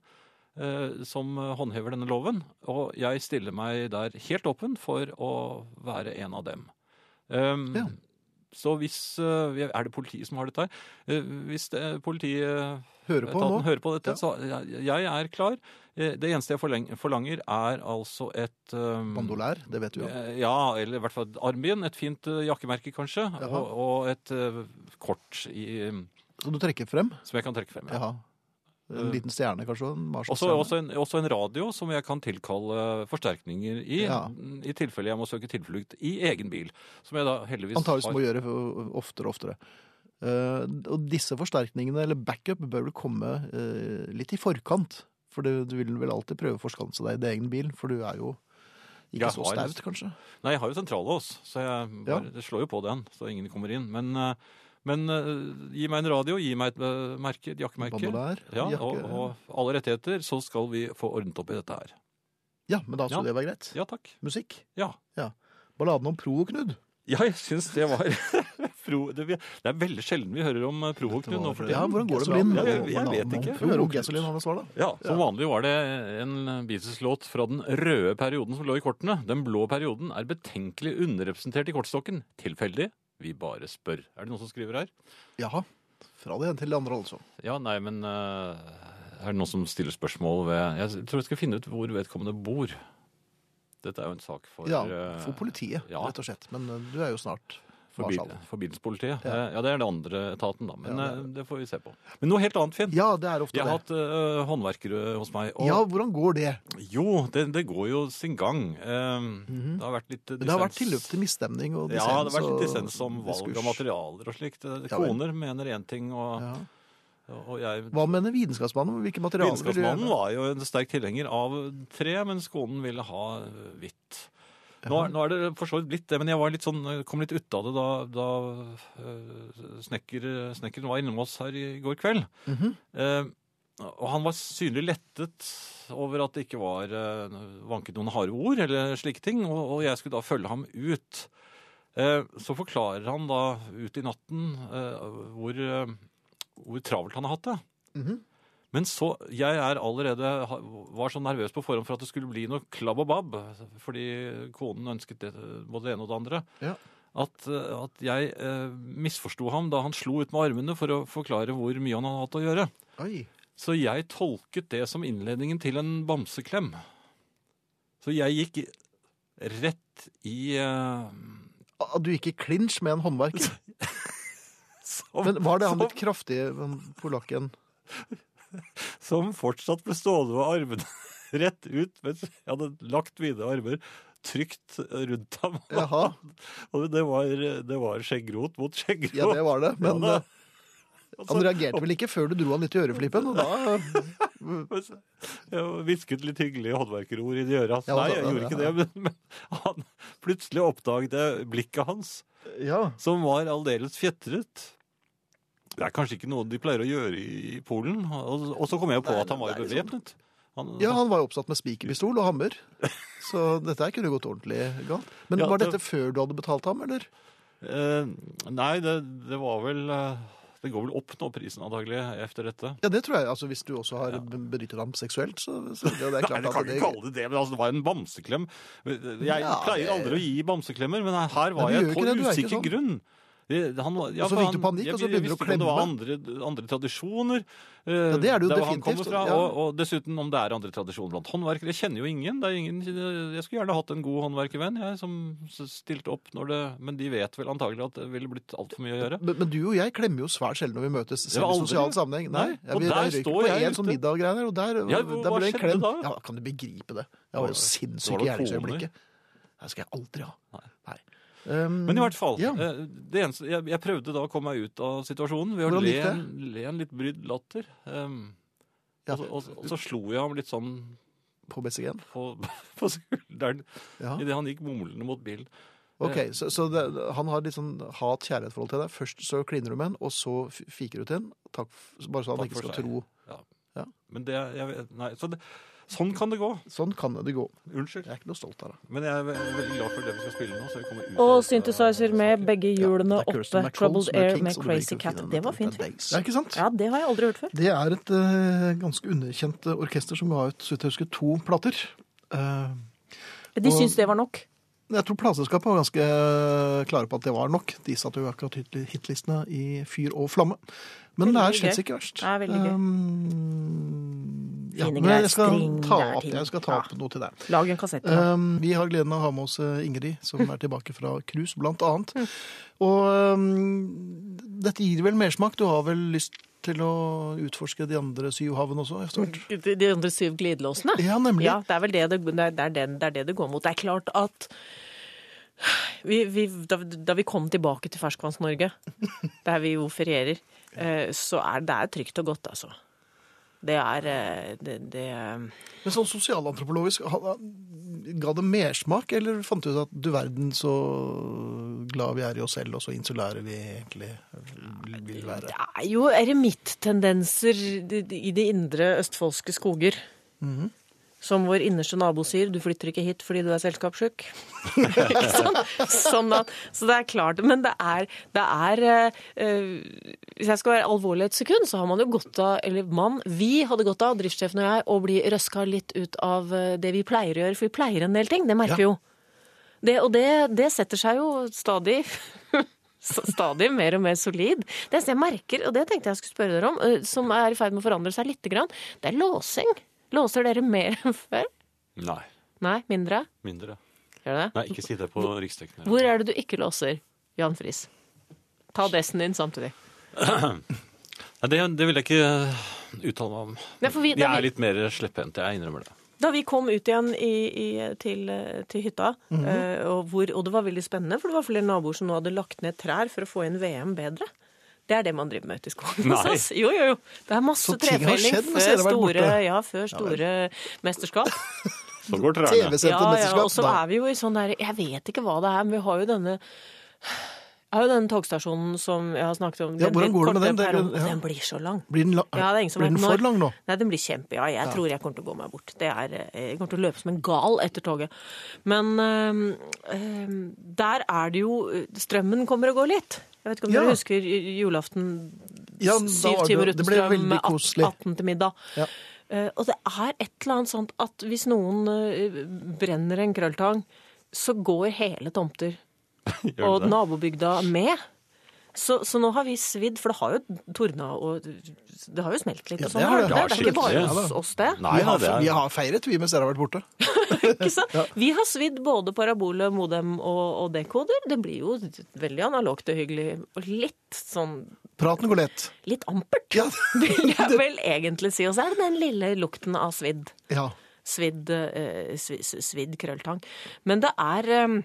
[SPEAKER 2] ø, som håndhever denne loven. Og jeg stiller meg der helt åpen for å være en av dem. Ehm,
[SPEAKER 1] Ja.
[SPEAKER 2] Så hvis ø, Er det politiet som har dette her? Eh, Hvis det, politiet
[SPEAKER 1] Hører på nå.
[SPEAKER 2] etaten hører på dette,
[SPEAKER 1] Ja.
[SPEAKER 2] så jeg, jeg er klar. Eh, Det eneste jeg forleng- forlanger, er altså et um,
[SPEAKER 1] Bandolær, det vet du jo.
[SPEAKER 2] Eh, Ja, eller i hvert fall et armbind. Et fint eh, jakkemerke, kanskje. Og, og et eh, kort i, mm,
[SPEAKER 1] Så du trekker frem?
[SPEAKER 2] som jeg kan trekke frem. Ja. Eh.
[SPEAKER 1] Jaha. En liten stjerne, kanskje? og En
[SPEAKER 2] Også,
[SPEAKER 1] Marshall-stjerne?
[SPEAKER 2] også, en, også en radio som jeg kan tilkalle forsterkninger i, mm,
[SPEAKER 1] Ja.
[SPEAKER 2] i tilfelle jeg må søke tilflukt i egen bil. Som jeg da heldigvis
[SPEAKER 1] Antakeligvis
[SPEAKER 2] har.
[SPEAKER 1] må gjøre oftere og oftere. Eh, og disse forsterkningene, eller backup, bør vel komme eh, litt i forkant. For du, du vil vel alltid prøve å forskanse deg i din egen bil, for du er jo ikke
[SPEAKER 2] Jeg
[SPEAKER 1] så
[SPEAKER 2] har-
[SPEAKER 1] staut, kanskje.
[SPEAKER 2] Nei, jeg har jo sentrallås, så jeg bare, det slår jo på den, så ingen kommer inn. Men, eh, men eh, gi meg en radio, gi meg et eh, merke, et jakkemerke.
[SPEAKER 1] Bandolær,
[SPEAKER 2] Ja, og,
[SPEAKER 1] jakke
[SPEAKER 2] og alle rettigheter, så skal vi få ordnet opp i dette her.
[SPEAKER 1] Ja, men da skulle
[SPEAKER 2] Ja.
[SPEAKER 1] det være greit.
[SPEAKER 2] Ja takk.
[SPEAKER 1] Musikk.
[SPEAKER 2] Ja.
[SPEAKER 1] Balladen om Pro og Knud.
[SPEAKER 2] Ja, jeg syns det var *laughs* pro, det, vi- det er veldig sjelden vi hører om eh, Provoknud nå for
[SPEAKER 1] Ja,
[SPEAKER 2] tiden.
[SPEAKER 1] hvordan går det med din?
[SPEAKER 2] Ja, jeg- jeg vet ikke.
[SPEAKER 1] Få høre om Gasolin har noe svar, da.
[SPEAKER 2] Ja, Som vanlig var det en Beatles-låt fra den røde perioden som lå i kortene. Den blå perioden er betenkelig underrepresentert i kortstokken. Tilfeldig? Vi bare spør. Er det noen som skriver her?
[SPEAKER 1] Jaha. Fra det ene til det andre, altså.
[SPEAKER 2] Ja, nei, men eh, Er det noen som stiller spørsmål ved Jeg tror jeg skal finne ut hvor vedkommende bor. Dette er jo en sak for
[SPEAKER 1] Ja,
[SPEAKER 2] eh,
[SPEAKER 1] for politiet,
[SPEAKER 2] ja.
[SPEAKER 1] rett og slett. Men eh, du er jo snart
[SPEAKER 2] For, bil,
[SPEAKER 1] Marshall.
[SPEAKER 2] for bilspolitiet.
[SPEAKER 1] Ja.
[SPEAKER 2] Eh, Ja, det er den andre etaten, da. Men
[SPEAKER 1] Ja,
[SPEAKER 2] eh, det får vi se på. Men noe helt annet, Finn.
[SPEAKER 1] Ja, det er ofte
[SPEAKER 2] Jeg har
[SPEAKER 1] det.
[SPEAKER 2] hatt øh, håndverkere hos meg. Og
[SPEAKER 1] Ja, hvordan går det?
[SPEAKER 2] jo, det, det går jo sin gang. Ehm, Det har vært litt
[SPEAKER 1] Mhm.
[SPEAKER 2] dissens.
[SPEAKER 1] Men det har vært tilløp til misstemning og
[SPEAKER 2] Ja,
[SPEAKER 1] dissens.
[SPEAKER 2] det har vært
[SPEAKER 1] og
[SPEAKER 2] litt dissens om valg av
[SPEAKER 1] diskurs.
[SPEAKER 2] materialer og slikt. Eh,
[SPEAKER 1] Ja vel.
[SPEAKER 2] Koner mener én ting, og,
[SPEAKER 1] Ja.
[SPEAKER 2] og jeg
[SPEAKER 1] Hva mener vitenskapsmannen om hvilke materialer vil du
[SPEAKER 2] Vitenskapsmannen
[SPEAKER 1] gjøre?
[SPEAKER 2] var jo en sterk tilhenger av tre, mens konen ville ha eh, hvitt. Nå, er- nå er det for så vidt blitt det, men jeg var litt sånn, eh, kom litt ut av det da, da eh, snekker, snekkeren var innom oss her i går kveld. Eh, og han var synlig lettet over at det ikke var eh, vanket noen harde ord eller slike ting, og, og jeg skulle da følge ham ut. Eh, så forklarer han da ut i natten eh, hvor, eh, hvor travelt han har hatt det. Men så, jeg er allerede, ha- var så nervøs på forhånd for at det skulle bli noe klabb og babb, fordi konen ønsket det, både det ene og det andre,
[SPEAKER 1] Ja.
[SPEAKER 2] at, eh, at jeg eh, misforsto ham da han slo ut med armene for å forklare hvor mye han hadde hatt å gjøre.
[SPEAKER 1] Oi.
[SPEAKER 2] Så jeg tolket det som innledningen til en bamseklem. Så jeg gikk i- rett i eh,
[SPEAKER 1] At Ah, du gikk i clinch med en håndverker?
[SPEAKER 2] som-
[SPEAKER 1] Men var det han
[SPEAKER 2] som-
[SPEAKER 1] litt kraftige han polakken?
[SPEAKER 2] som fortsatt ble stående med armene *laughs* rett ut, mens jeg hadde lagt mine armer trygt rundt ham.
[SPEAKER 1] Jaha.
[SPEAKER 2] *laughs* Og det var, det var skjeggrot mot skjeggrot.
[SPEAKER 1] Ja, det var det.
[SPEAKER 2] *laughs*
[SPEAKER 1] Men
[SPEAKER 2] Ja, da.
[SPEAKER 1] eh, han reagerte vel ikke før du dro han litt i øreflippen, og da eh,
[SPEAKER 2] Mens *laughs* Jeg hvisket litt hyggelige håndverkerord i de øra. hans.
[SPEAKER 1] Ja,
[SPEAKER 2] Nei,
[SPEAKER 1] da-
[SPEAKER 2] jeg
[SPEAKER 1] da-
[SPEAKER 2] gjorde ikke det, men, men *laughs* han, plutselig oppdaget jeg blikket hans,
[SPEAKER 1] Ja.
[SPEAKER 2] som var aldeles fjetret. Det er kanskje ikke noe de pleier å gjøre i i Polen. Og, og så kom jeg på at han var jo bevæpnet. Han,
[SPEAKER 1] liksom- Ja, han var jo oppsatt med spikerpistol og hammer. Så dette her kunne gått ordentlig galt. Men
[SPEAKER 2] Ja,
[SPEAKER 1] var
[SPEAKER 2] det-
[SPEAKER 1] dette før du hadde betalt ham, eller?
[SPEAKER 2] Eh, nei, det, det var vel eh, Det går vel opp nå, prisen antagelig, etter dette.
[SPEAKER 1] Ja, det tror jeg. Altså, hvis du også har benyttet ham seksuelt, så, så det, det er
[SPEAKER 2] Nei,
[SPEAKER 1] klart
[SPEAKER 2] det kan
[SPEAKER 1] at
[SPEAKER 2] du
[SPEAKER 1] det
[SPEAKER 2] ikke kalle det det, men altså, det var en bamseklem. Jeg
[SPEAKER 1] Ja,
[SPEAKER 2] pleier aldri å gi bamseklemmer, men her var
[SPEAKER 1] Nei, du
[SPEAKER 2] jeg
[SPEAKER 1] gjør
[SPEAKER 2] på
[SPEAKER 1] ikke det, du er ikke
[SPEAKER 2] usikker
[SPEAKER 1] sånn.
[SPEAKER 2] grunn. Det- han var- ja,
[SPEAKER 1] Og så
[SPEAKER 2] for
[SPEAKER 1] fikk du
[SPEAKER 2] han-
[SPEAKER 1] panikk,
[SPEAKER 2] jeg-
[SPEAKER 1] og så begynner
[SPEAKER 2] jeg
[SPEAKER 1] du å
[SPEAKER 2] visste ikke om
[SPEAKER 1] klemme.
[SPEAKER 2] Det var andre, andre tradisjoner. eh,
[SPEAKER 1] Ja, det er det jo
[SPEAKER 2] der hvor han
[SPEAKER 1] definitivt,
[SPEAKER 2] kommer fra,
[SPEAKER 1] ja.
[SPEAKER 2] og, og dessuten om det er andre tradisjoner blant håndverkere. Jeg kjenner jo ingen. Det er ingen jeg skulle gjerne hatt en god håndverkervenn jeg, som stilte opp når det Men de vet vel antagelig at det ville blitt altfor mye å gjøre.
[SPEAKER 1] Men, men du og jeg klemmer jo svært sjelden når vi møtes, selv i
[SPEAKER 2] aldri-
[SPEAKER 1] sosial sammenheng. Nei,
[SPEAKER 2] Nei, og der
[SPEAKER 1] røyker
[SPEAKER 2] står
[SPEAKER 1] på
[SPEAKER 2] jeg
[SPEAKER 1] en sånn
[SPEAKER 2] ute.
[SPEAKER 1] middag og greier, og der,
[SPEAKER 2] Ja,
[SPEAKER 1] der
[SPEAKER 2] hva
[SPEAKER 1] ble det en
[SPEAKER 2] skjedde
[SPEAKER 1] klem.
[SPEAKER 2] da?
[SPEAKER 1] Ja, kan du begripe det? Jeg var jo
[SPEAKER 2] Var
[SPEAKER 1] sinnssyk i
[SPEAKER 2] det koner?
[SPEAKER 1] gjerningsøyeblikket. Det skal jeg aldri ha. Nei. Um,
[SPEAKER 2] Men i hvert fall,
[SPEAKER 1] Ja.
[SPEAKER 2] eh, det eneste, jeg, jeg prøvde da å komme meg ut av situasjonen ved å
[SPEAKER 1] Hvordan
[SPEAKER 2] le,
[SPEAKER 1] gikk det?
[SPEAKER 2] en- le en litt brydd latter. Um,
[SPEAKER 1] Ja.
[SPEAKER 2] og, så- og, så- og så slo jeg ham litt sånn
[SPEAKER 1] På BCG-en?
[SPEAKER 2] på, *laughs* på skulderen
[SPEAKER 1] Ja.
[SPEAKER 2] idet han gikk mumlende mot bilen.
[SPEAKER 1] Ok, så, så det, han har litt sånn hat-kjærlighet-forhold til deg. Først så kliner du med han, og så f- fiker du til han. Takk, f- bare så han
[SPEAKER 2] Takk
[SPEAKER 1] ikke
[SPEAKER 2] for
[SPEAKER 1] skal
[SPEAKER 2] seg.
[SPEAKER 1] tro.
[SPEAKER 2] Men det, jeg, vet- nei, så det, sånn kan det gå.
[SPEAKER 1] Sånn kan det gå.
[SPEAKER 2] Unnskyld.
[SPEAKER 1] Jeg er ikke noe stolt av det.
[SPEAKER 2] Men jeg er ve- veldig glad for det vi skal spille nå. så vi kommer ut av
[SPEAKER 10] Og
[SPEAKER 2] dette
[SPEAKER 10] synthesizer med
[SPEAKER 2] saken.
[SPEAKER 10] begge hjulene
[SPEAKER 1] Det er Kirsten
[SPEAKER 10] oppe.
[SPEAKER 1] MacColl
[SPEAKER 10] Troubled
[SPEAKER 1] som er
[SPEAKER 10] Air
[SPEAKER 1] Kings,
[SPEAKER 10] med
[SPEAKER 1] og det blir
[SPEAKER 10] Crazy
[SPEAKER 1] ikke noe
[SPEAKER 10] Cat.
[SPEAKER 1] finere enn
[SPEAKER 10] Det var
[SPEAKER 1] dette.
[SPEAKER 10] fint.
[SPEAKER 1] Days. Ja, ikke sant?
[SPEAKER 10] Ja, det har jeg aldri hørt før.
[SPEAKER 1] Det er et eh, ganske underkjent eh, orkester som ga ut så vidt jeg husker, to plater. Eh,
[SPEAKER 10] De syns det var nok.
[SPEAKER 1] jeg tror plateselskapet var ganske eh, klare på at det var nok. De satte jo akkurat hit- hitlistene i fyr og flamme. Men det
[SPEAKER 10] Veldig
[SPEAKER 1] er slett
[SPEAKER 10] gøy.
[SPEAKER 1] ikke verst.
[SPEAKER 10] Det er veldig gøy.
[SPEAKER 1] Um, ja,
[SPEAKER 10] Fine
[SPEAKER 1] men
[SPEAKER 10] greier,
[SPEAKER 1] jeg skal
[SPEAKER 10] string
[SPEAKER 1] ta
[SPEAKER 10] der,
[SPEAKER 1] opp,
[SPEAKER 10] ting.
[SPEAKER 1] jeg skal ta
[SPEAKER 10] Ja.
[SPEAKER 1] opp noe til deg.
[SPEAKER 10] Lag en kassett. da.
[SPEAKER 1] Um, vi har gleden av å ha med oss eh, Ingrid, som er tilbake fra cruise, blant annet.
[SPEAKER 10] Mm.
[SPEAKER 1] Og um, dette gir vel mersmak. Du har vel lyst til å utforske de andre syv havene også? etter hvert?
[SPEAKER 10] De de andre syv glidelåsene?
[SPEAKER 1] Ja, nemlig.
[SPEAKER 10] Ja, det er vel det det, det, er- det, er det, det er det det går mot. Det er klart at vi, vi, da, da vi kom tilbake til Ferskvanns-Norge, *laughs* der vi jo ferierer, eh, så er det er trygt og godt, altså. Det er eh, det, det
[SPEAKER 1] Men sånn sosialantropologisk, ha- ga det mersmak, eller fant du ut at du verden så glad vi er i oss selv, og så insulære vi egentlig vil være?
[SPEAKER 10] Det er jo eremittendenser i- i de indre østfoldske skoger. Som vår innerste nabo sier, du flytter ikke hit fordi du er selskapssjuk. *laughs* Ikke sant? sånn at, så det er klart. Men det er, det er eh, eh, Hvis jeg skal være alvorlig et sekund, så har man jo godt av, eller mann, vi hadde godt av, driftssjefen og jeg, å bli røska litt ut av eh, det vi pleier å gjøre. For vi pleier en del ting, det merker vi jo. Det, og det, det setter seg jo stadig s- Stadig mer og mer solid. Det eneste jeg merker, og det tenkte jeg skulle spørre dere om, eh, som er i ferd med å forandre seg litt, grann, det er låsing. Låser dere mer enn før?
[SPEAKER 2] Nei.
[SPEAKER 10] Nei, mindre?
[SPEAKER 2] Mindre.
[SPEAKER 10] Gjør dere det?
[SPEAKER 2] Nei, ikke si det på Riksdekken.
[SPEAKER 10] Hvor er det du ikke låser, Jan Friis? Ta dessen din samtidig.
[SPEAKER 2] Nei, det, det vil jeg ikke eh, uttale meg om.
[SPEAKER 10] Nei, for vi,
[SPEAKER 2] Jeg
[SPEAKER 10] da,
[SPEAKER 2] er
[SPEAKER 10] vi,
[SPEAKER 2] litt mer slepphendt, jeg innrømmer det.
[SPEAKER 10] da vi kom ut igjen i, i, til, eh, til hytta,
[SPEAKER 1] Mhm.
[SPEAKER 10] eh, og, hvor, og det var veldig spennende, for det var flere naboer som nå hadde lagt ned trær for å få inn VM bedre. Det er det man driver med ute i skogen hos
[SPEAKER 2] Nei.
[SPEAKER 10] oss. Jo, jo, jo. Det er masse
[SPEAKER 1] Så ting har
[SPEAKER 10] trefelling
[SPEAKER 1] skjedd mens
[SPEAKER 10] før
[SPEAKER 1] dere har vært borte.
[SPEAKER 10] store, ja, før store mesterskap.
[SPEAKER 1] *laughs*
[SPEAKER 2] Så går trærne.
[SPEAKER 1] TV-sendte mesterskap?
[SPEAKER 10] og så
[SPEAKER 1] Nei.
[SPEAKER 10] er vi jo i sånn der Jeg vet ikke hva det er, men vi har jo denne jeg har jo den togstasjonen som jeg har snakket om.
[SPEAKER 1] Ja, hvordan går det med
[SPEAKER 10] korte
[SPEAKER 1] den? Det er-
[SPEAKER 10] perrongen.
[SPEAKER 1] ja.
[SPEAKER 10] Den blir så lang.
[SPEAKER 1] Blir den, la
[SPEAKER 10] Ja, det er ingen som
[SPEAKER 1] blir
[SPEAKER 10] vet
[SPEAKER 1] den
[SPEAKER 10] når.
[SPEAKER 1] for lang nå?
[SPEAKER 10] Nei, den blir kjempe... Ja, jeg tror jeg kommer til å gå meg bort. Det er, eh, jeg kommer til å løpe som en gal etter toget. Men øhm, øhm, der er det jo eh, Strømmen kommer og går litt. Jeg vet ikke om
[SPEAKER 1] Ja.
[SPEAKER 10] dere husker j- julaften.
[SPEAKER 1] Ja, da
[SPEAKER 10] syv
[SPEAKER 1] var det jo-
[SPEAKER 10] timer uten
[SPEAKER 1] det ble
[SPEAKER 10] strøm,
[SPEAKER 1] veldig
[SPEAKER 10] at-
[SPEAKER 1] koselig.
[SPEAKER 10] 18 til middag.
[SPEAKER 1] Ja.
[SPEAKER 10] Eh, og det er et eller annet sånt at hvis noen eh, brenner en krølltang, så går hele tomter
[SPEAKER 2] Gjør
[SPEAKER 10] og
[SPEAKER 2] det det?
[SPEAKER 10] nabobygda med. Så, så nå har vi svidd, for det har jo tordna og Det har jo smelt litt.
[SPEAKER 1] Ja,
[SPEAKER 10] og sånn
[SPEAKER 1] det har
[SPEAKER 10] har
[SPEAKER 1] det.
[SPEAKER 10] det.
[SPEAKER 2] Ja,
[SPEAKER 10] Det er ikke bare
[SPEAKER 2] skikkelig.
[SPEAKER 10] hos oss, det.
[SPEAKER 2] Nei,
[SPEAKER 1] vi, har,
[SPEAKER 2] det er-
[SPEAKER 1] vi har feiret, vi, mens dere har vært borte.
[SPEAKER 10] Ikke sant? Vi har svidd både parabole, modem og, og dekoder. Det blir jo veldig analogt og hyggelig. Og litt sånn
[SPEAKER 1] Praten går lett.
[SPEAKER 10] Litt ampert,
[SPEAKER 1] Ja. *laughs*
[SPEAKER 10] vil jeg vel egentlig si. Og så er det den lille lukten av svidd.
[SPEAKER 1] Ja.
[SPEAKER 10] Svidd, eh, svi- svidd krølltang. Men det er eh,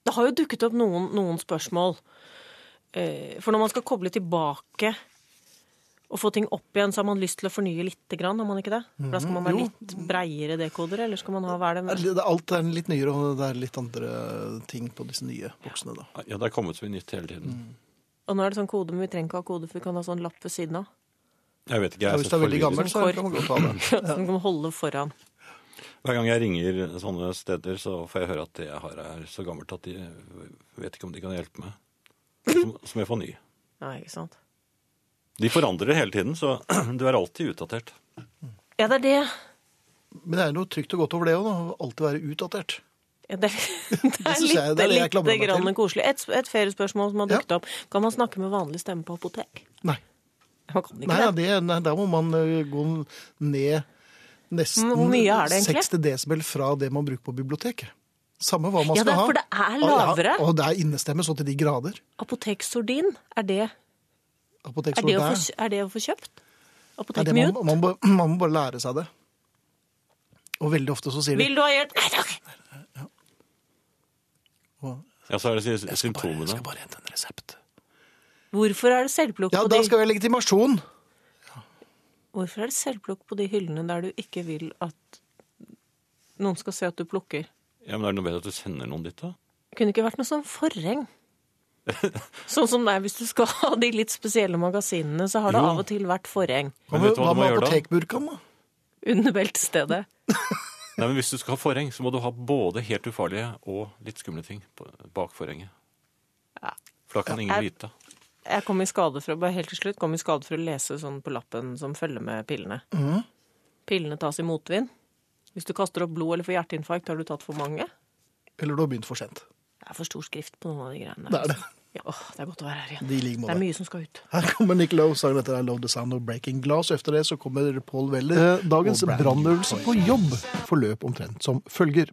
[SPEAKER 10] Det har jo dukket opp noen, noen spørsmål. Eh, For når man skal koble tilbake og få ting opp igjen, så har man lyst til å fornye lite grann, har man ikke det? For da skal man ha litt breiere dekoder, eller skal man ha hva er det?
[SPEAKER 1] Det- Alt er litt nyere, og det er litt andre ting på disse nye boksene. da.
[SPEAKER 2] Ja, det er kommet så mye nytt hele tiden.
[SPEAKER 10] Og nå er det sånn kode, men vi trenger ikke ha kode, for vi kan ha sånn lapp ved siden av. *laughs*
[SPEAKER 2] Jeg vet ikke, jeg
[SPEAKER 1] Ja,
[SPEAKER 2] er
[SPEAKER 1] hvis
[SPEAKER 2] så
[SPEAKER 1] det er veldig
[SPEAKER 2] forvirret.
[SPEAKER 1] gammelt, så kan man godt ha det.
[SPEAKER 10] Som kan holde foran.
[SPEAKER 2] Hver gang jeg ringer sånne steder, så får jeg høre at det jeg har er så gammelt at de vet ikke om de kan hjelpe meg. Som, som jeg får ny.
[SPEAKER 10] Ja, ikke sant?
[SPEAKER 2] De forandrer hele tiden, så *clears throat* du er alltid utdatert.
[SPEAKER 10] Ja, det er det.
[SPEAKER 1] Men det er noe trygt og godt over det òg, å alltid være utdatert.
[SPEAKER 10] Ja,
[SPEAKER 1] *laughs*
[SPEAKER 10] det, er, det er
[SPEAKER 1] synes
[SPEAKER 10] litt,
[SPEAKER 1] jeg- det er det jeg klamrer meg
[SPEAKER 10] lite
[SPEAKER 1] til.
[SPEAKER 10] grann koselig. Et, et feriespørsmål som har
[SPEAKER 1] Ja.
[SPEAKER 10] dukket opp. Kan man snakke med vanlig stemme på apotek?
[SPEAKER 1] Nei,
[SPEAKER 10] Man kan ikke
[SPEAKER 1] nei,
[SPEAKER 10] det.
[SPEAKER 1] det, nei da må man ø, gå ned nesten
[SPEAKER 10] Hvor mye er det egentlig?
[SPEAKER 1] 60 desibel fra det man bruker på biblioteket. Samme hva man
[SPEAKER 10] Ja, det
[SPEAKER 1] skal
[SPEAKER 10] er-
[SPEAKER 1] ha.
[SPEAKER 10] for det er
[SPEAKER 1] Og ja,
[SPEAKER 10] lavere.
[SPEAKER 1] Og det er innestemme så til de grader.
[SPEAKER 10] Apoteksordin, er det, er,
[SPEAKER 1] Apoteksord
[SPEAKER 10] det å
[SPEAKER 1] der.
[SPEAKER 10] få, kj- er det å få kjøpt?
[SPEAKER 1] Ja, det man,
[SPEAKER 10] Apotekmute?
[SPEAKER 1] man, må- *clears throat* man må bare lære seg det. Og veldig ofte så sier de
[SPEAKER 10] Vil du ha hjelp? Nei takk!
[SPEAKER 2] Ja, så er det sy-
[SPEAKER 1] jeg skal, bare, jeg
[SPEAKER 2] symptomene.
[SPEAKER 1] skal bare hente en resept.
[SPEAKER 10] Hvorfor er det selvplukk
[SPEAKER 1] Ja,
[SPEAKER 10] på,
[SPEAKER 1] da
[SPEAKER 10] de-
[SPEAKER 1] skal vi ha legitimasjon.
[SPEAKER 10] Hvorfor er det selvplukk på de hyllene der du ikke vil at noen skal se at du plukker?
[SPEAKER 2] Ja, men er det noe bedre at du sender noen dit, da?
[SPEAKER 10] Kunne ikke vært noe sånn
[SPEAKER 1] *laughs*
[SPEAKER 10] forheng? Sånn som det er hvis du skal ha de litt spesielle magasinene, så har det
[SPEAKER 2] Jo.
[SPEAKER 10] av og til vært forheng
[SPEAKER 1] Hva
[SPEAKER 2] Men
[SPEAKER 1] med,
[SPEAKER 2] vet du hva du må gjøre da?
[SPEAKER 1] apotekburkaen, da?
[SPEAKER 10] under beltestedet.
[SPEAKER 2] Nei, men Hvis du skal ha forheng, så må du ha både helt ufarlige og litt skumle ting på- bak forhenget.
[SPEAKER 10] Ja.
[SPEAKER 2] For da kan ingen
[SPEAKER 10] Jeg-
[SPEAKER 2] vite.
[SPEAKER 10] Jeg kom i skade for, bare helt til slutt, kom i skade for å lese sånn på lappen som følger med pillene.
[SPEAKER 1] Mhm.
[SPEAKER 10] Pillene tas i motvind. Hvis du kaster opp blod eller får hjerteinfarkt, har du tatt for mange.
[SPEAKER 1] Eller du har begynt for sent.
[SPEAKER 10] Det er for stor skrift på noen av de greiene.
[SPEAKER 1] Det er det.
[SPEAKER 10] Ja, åh, det er godt å være her igjen.
[SPEAKER 1] De ligger
[SPEAKER 10] Det er
[SPEAKER 1] med det.
[SPEAKER 10] mye som skal ut.
[SPEAKER 1] Her kommer Nick Lowe, sangen etter I Love the Sound of Breaking Glass. Efter det så kommer Paul
[SPEAKER 3] Eh,
[SPEAKER 1] Weller. Eh, Dagens brannøvelse på jobb forløp omtrent som følger.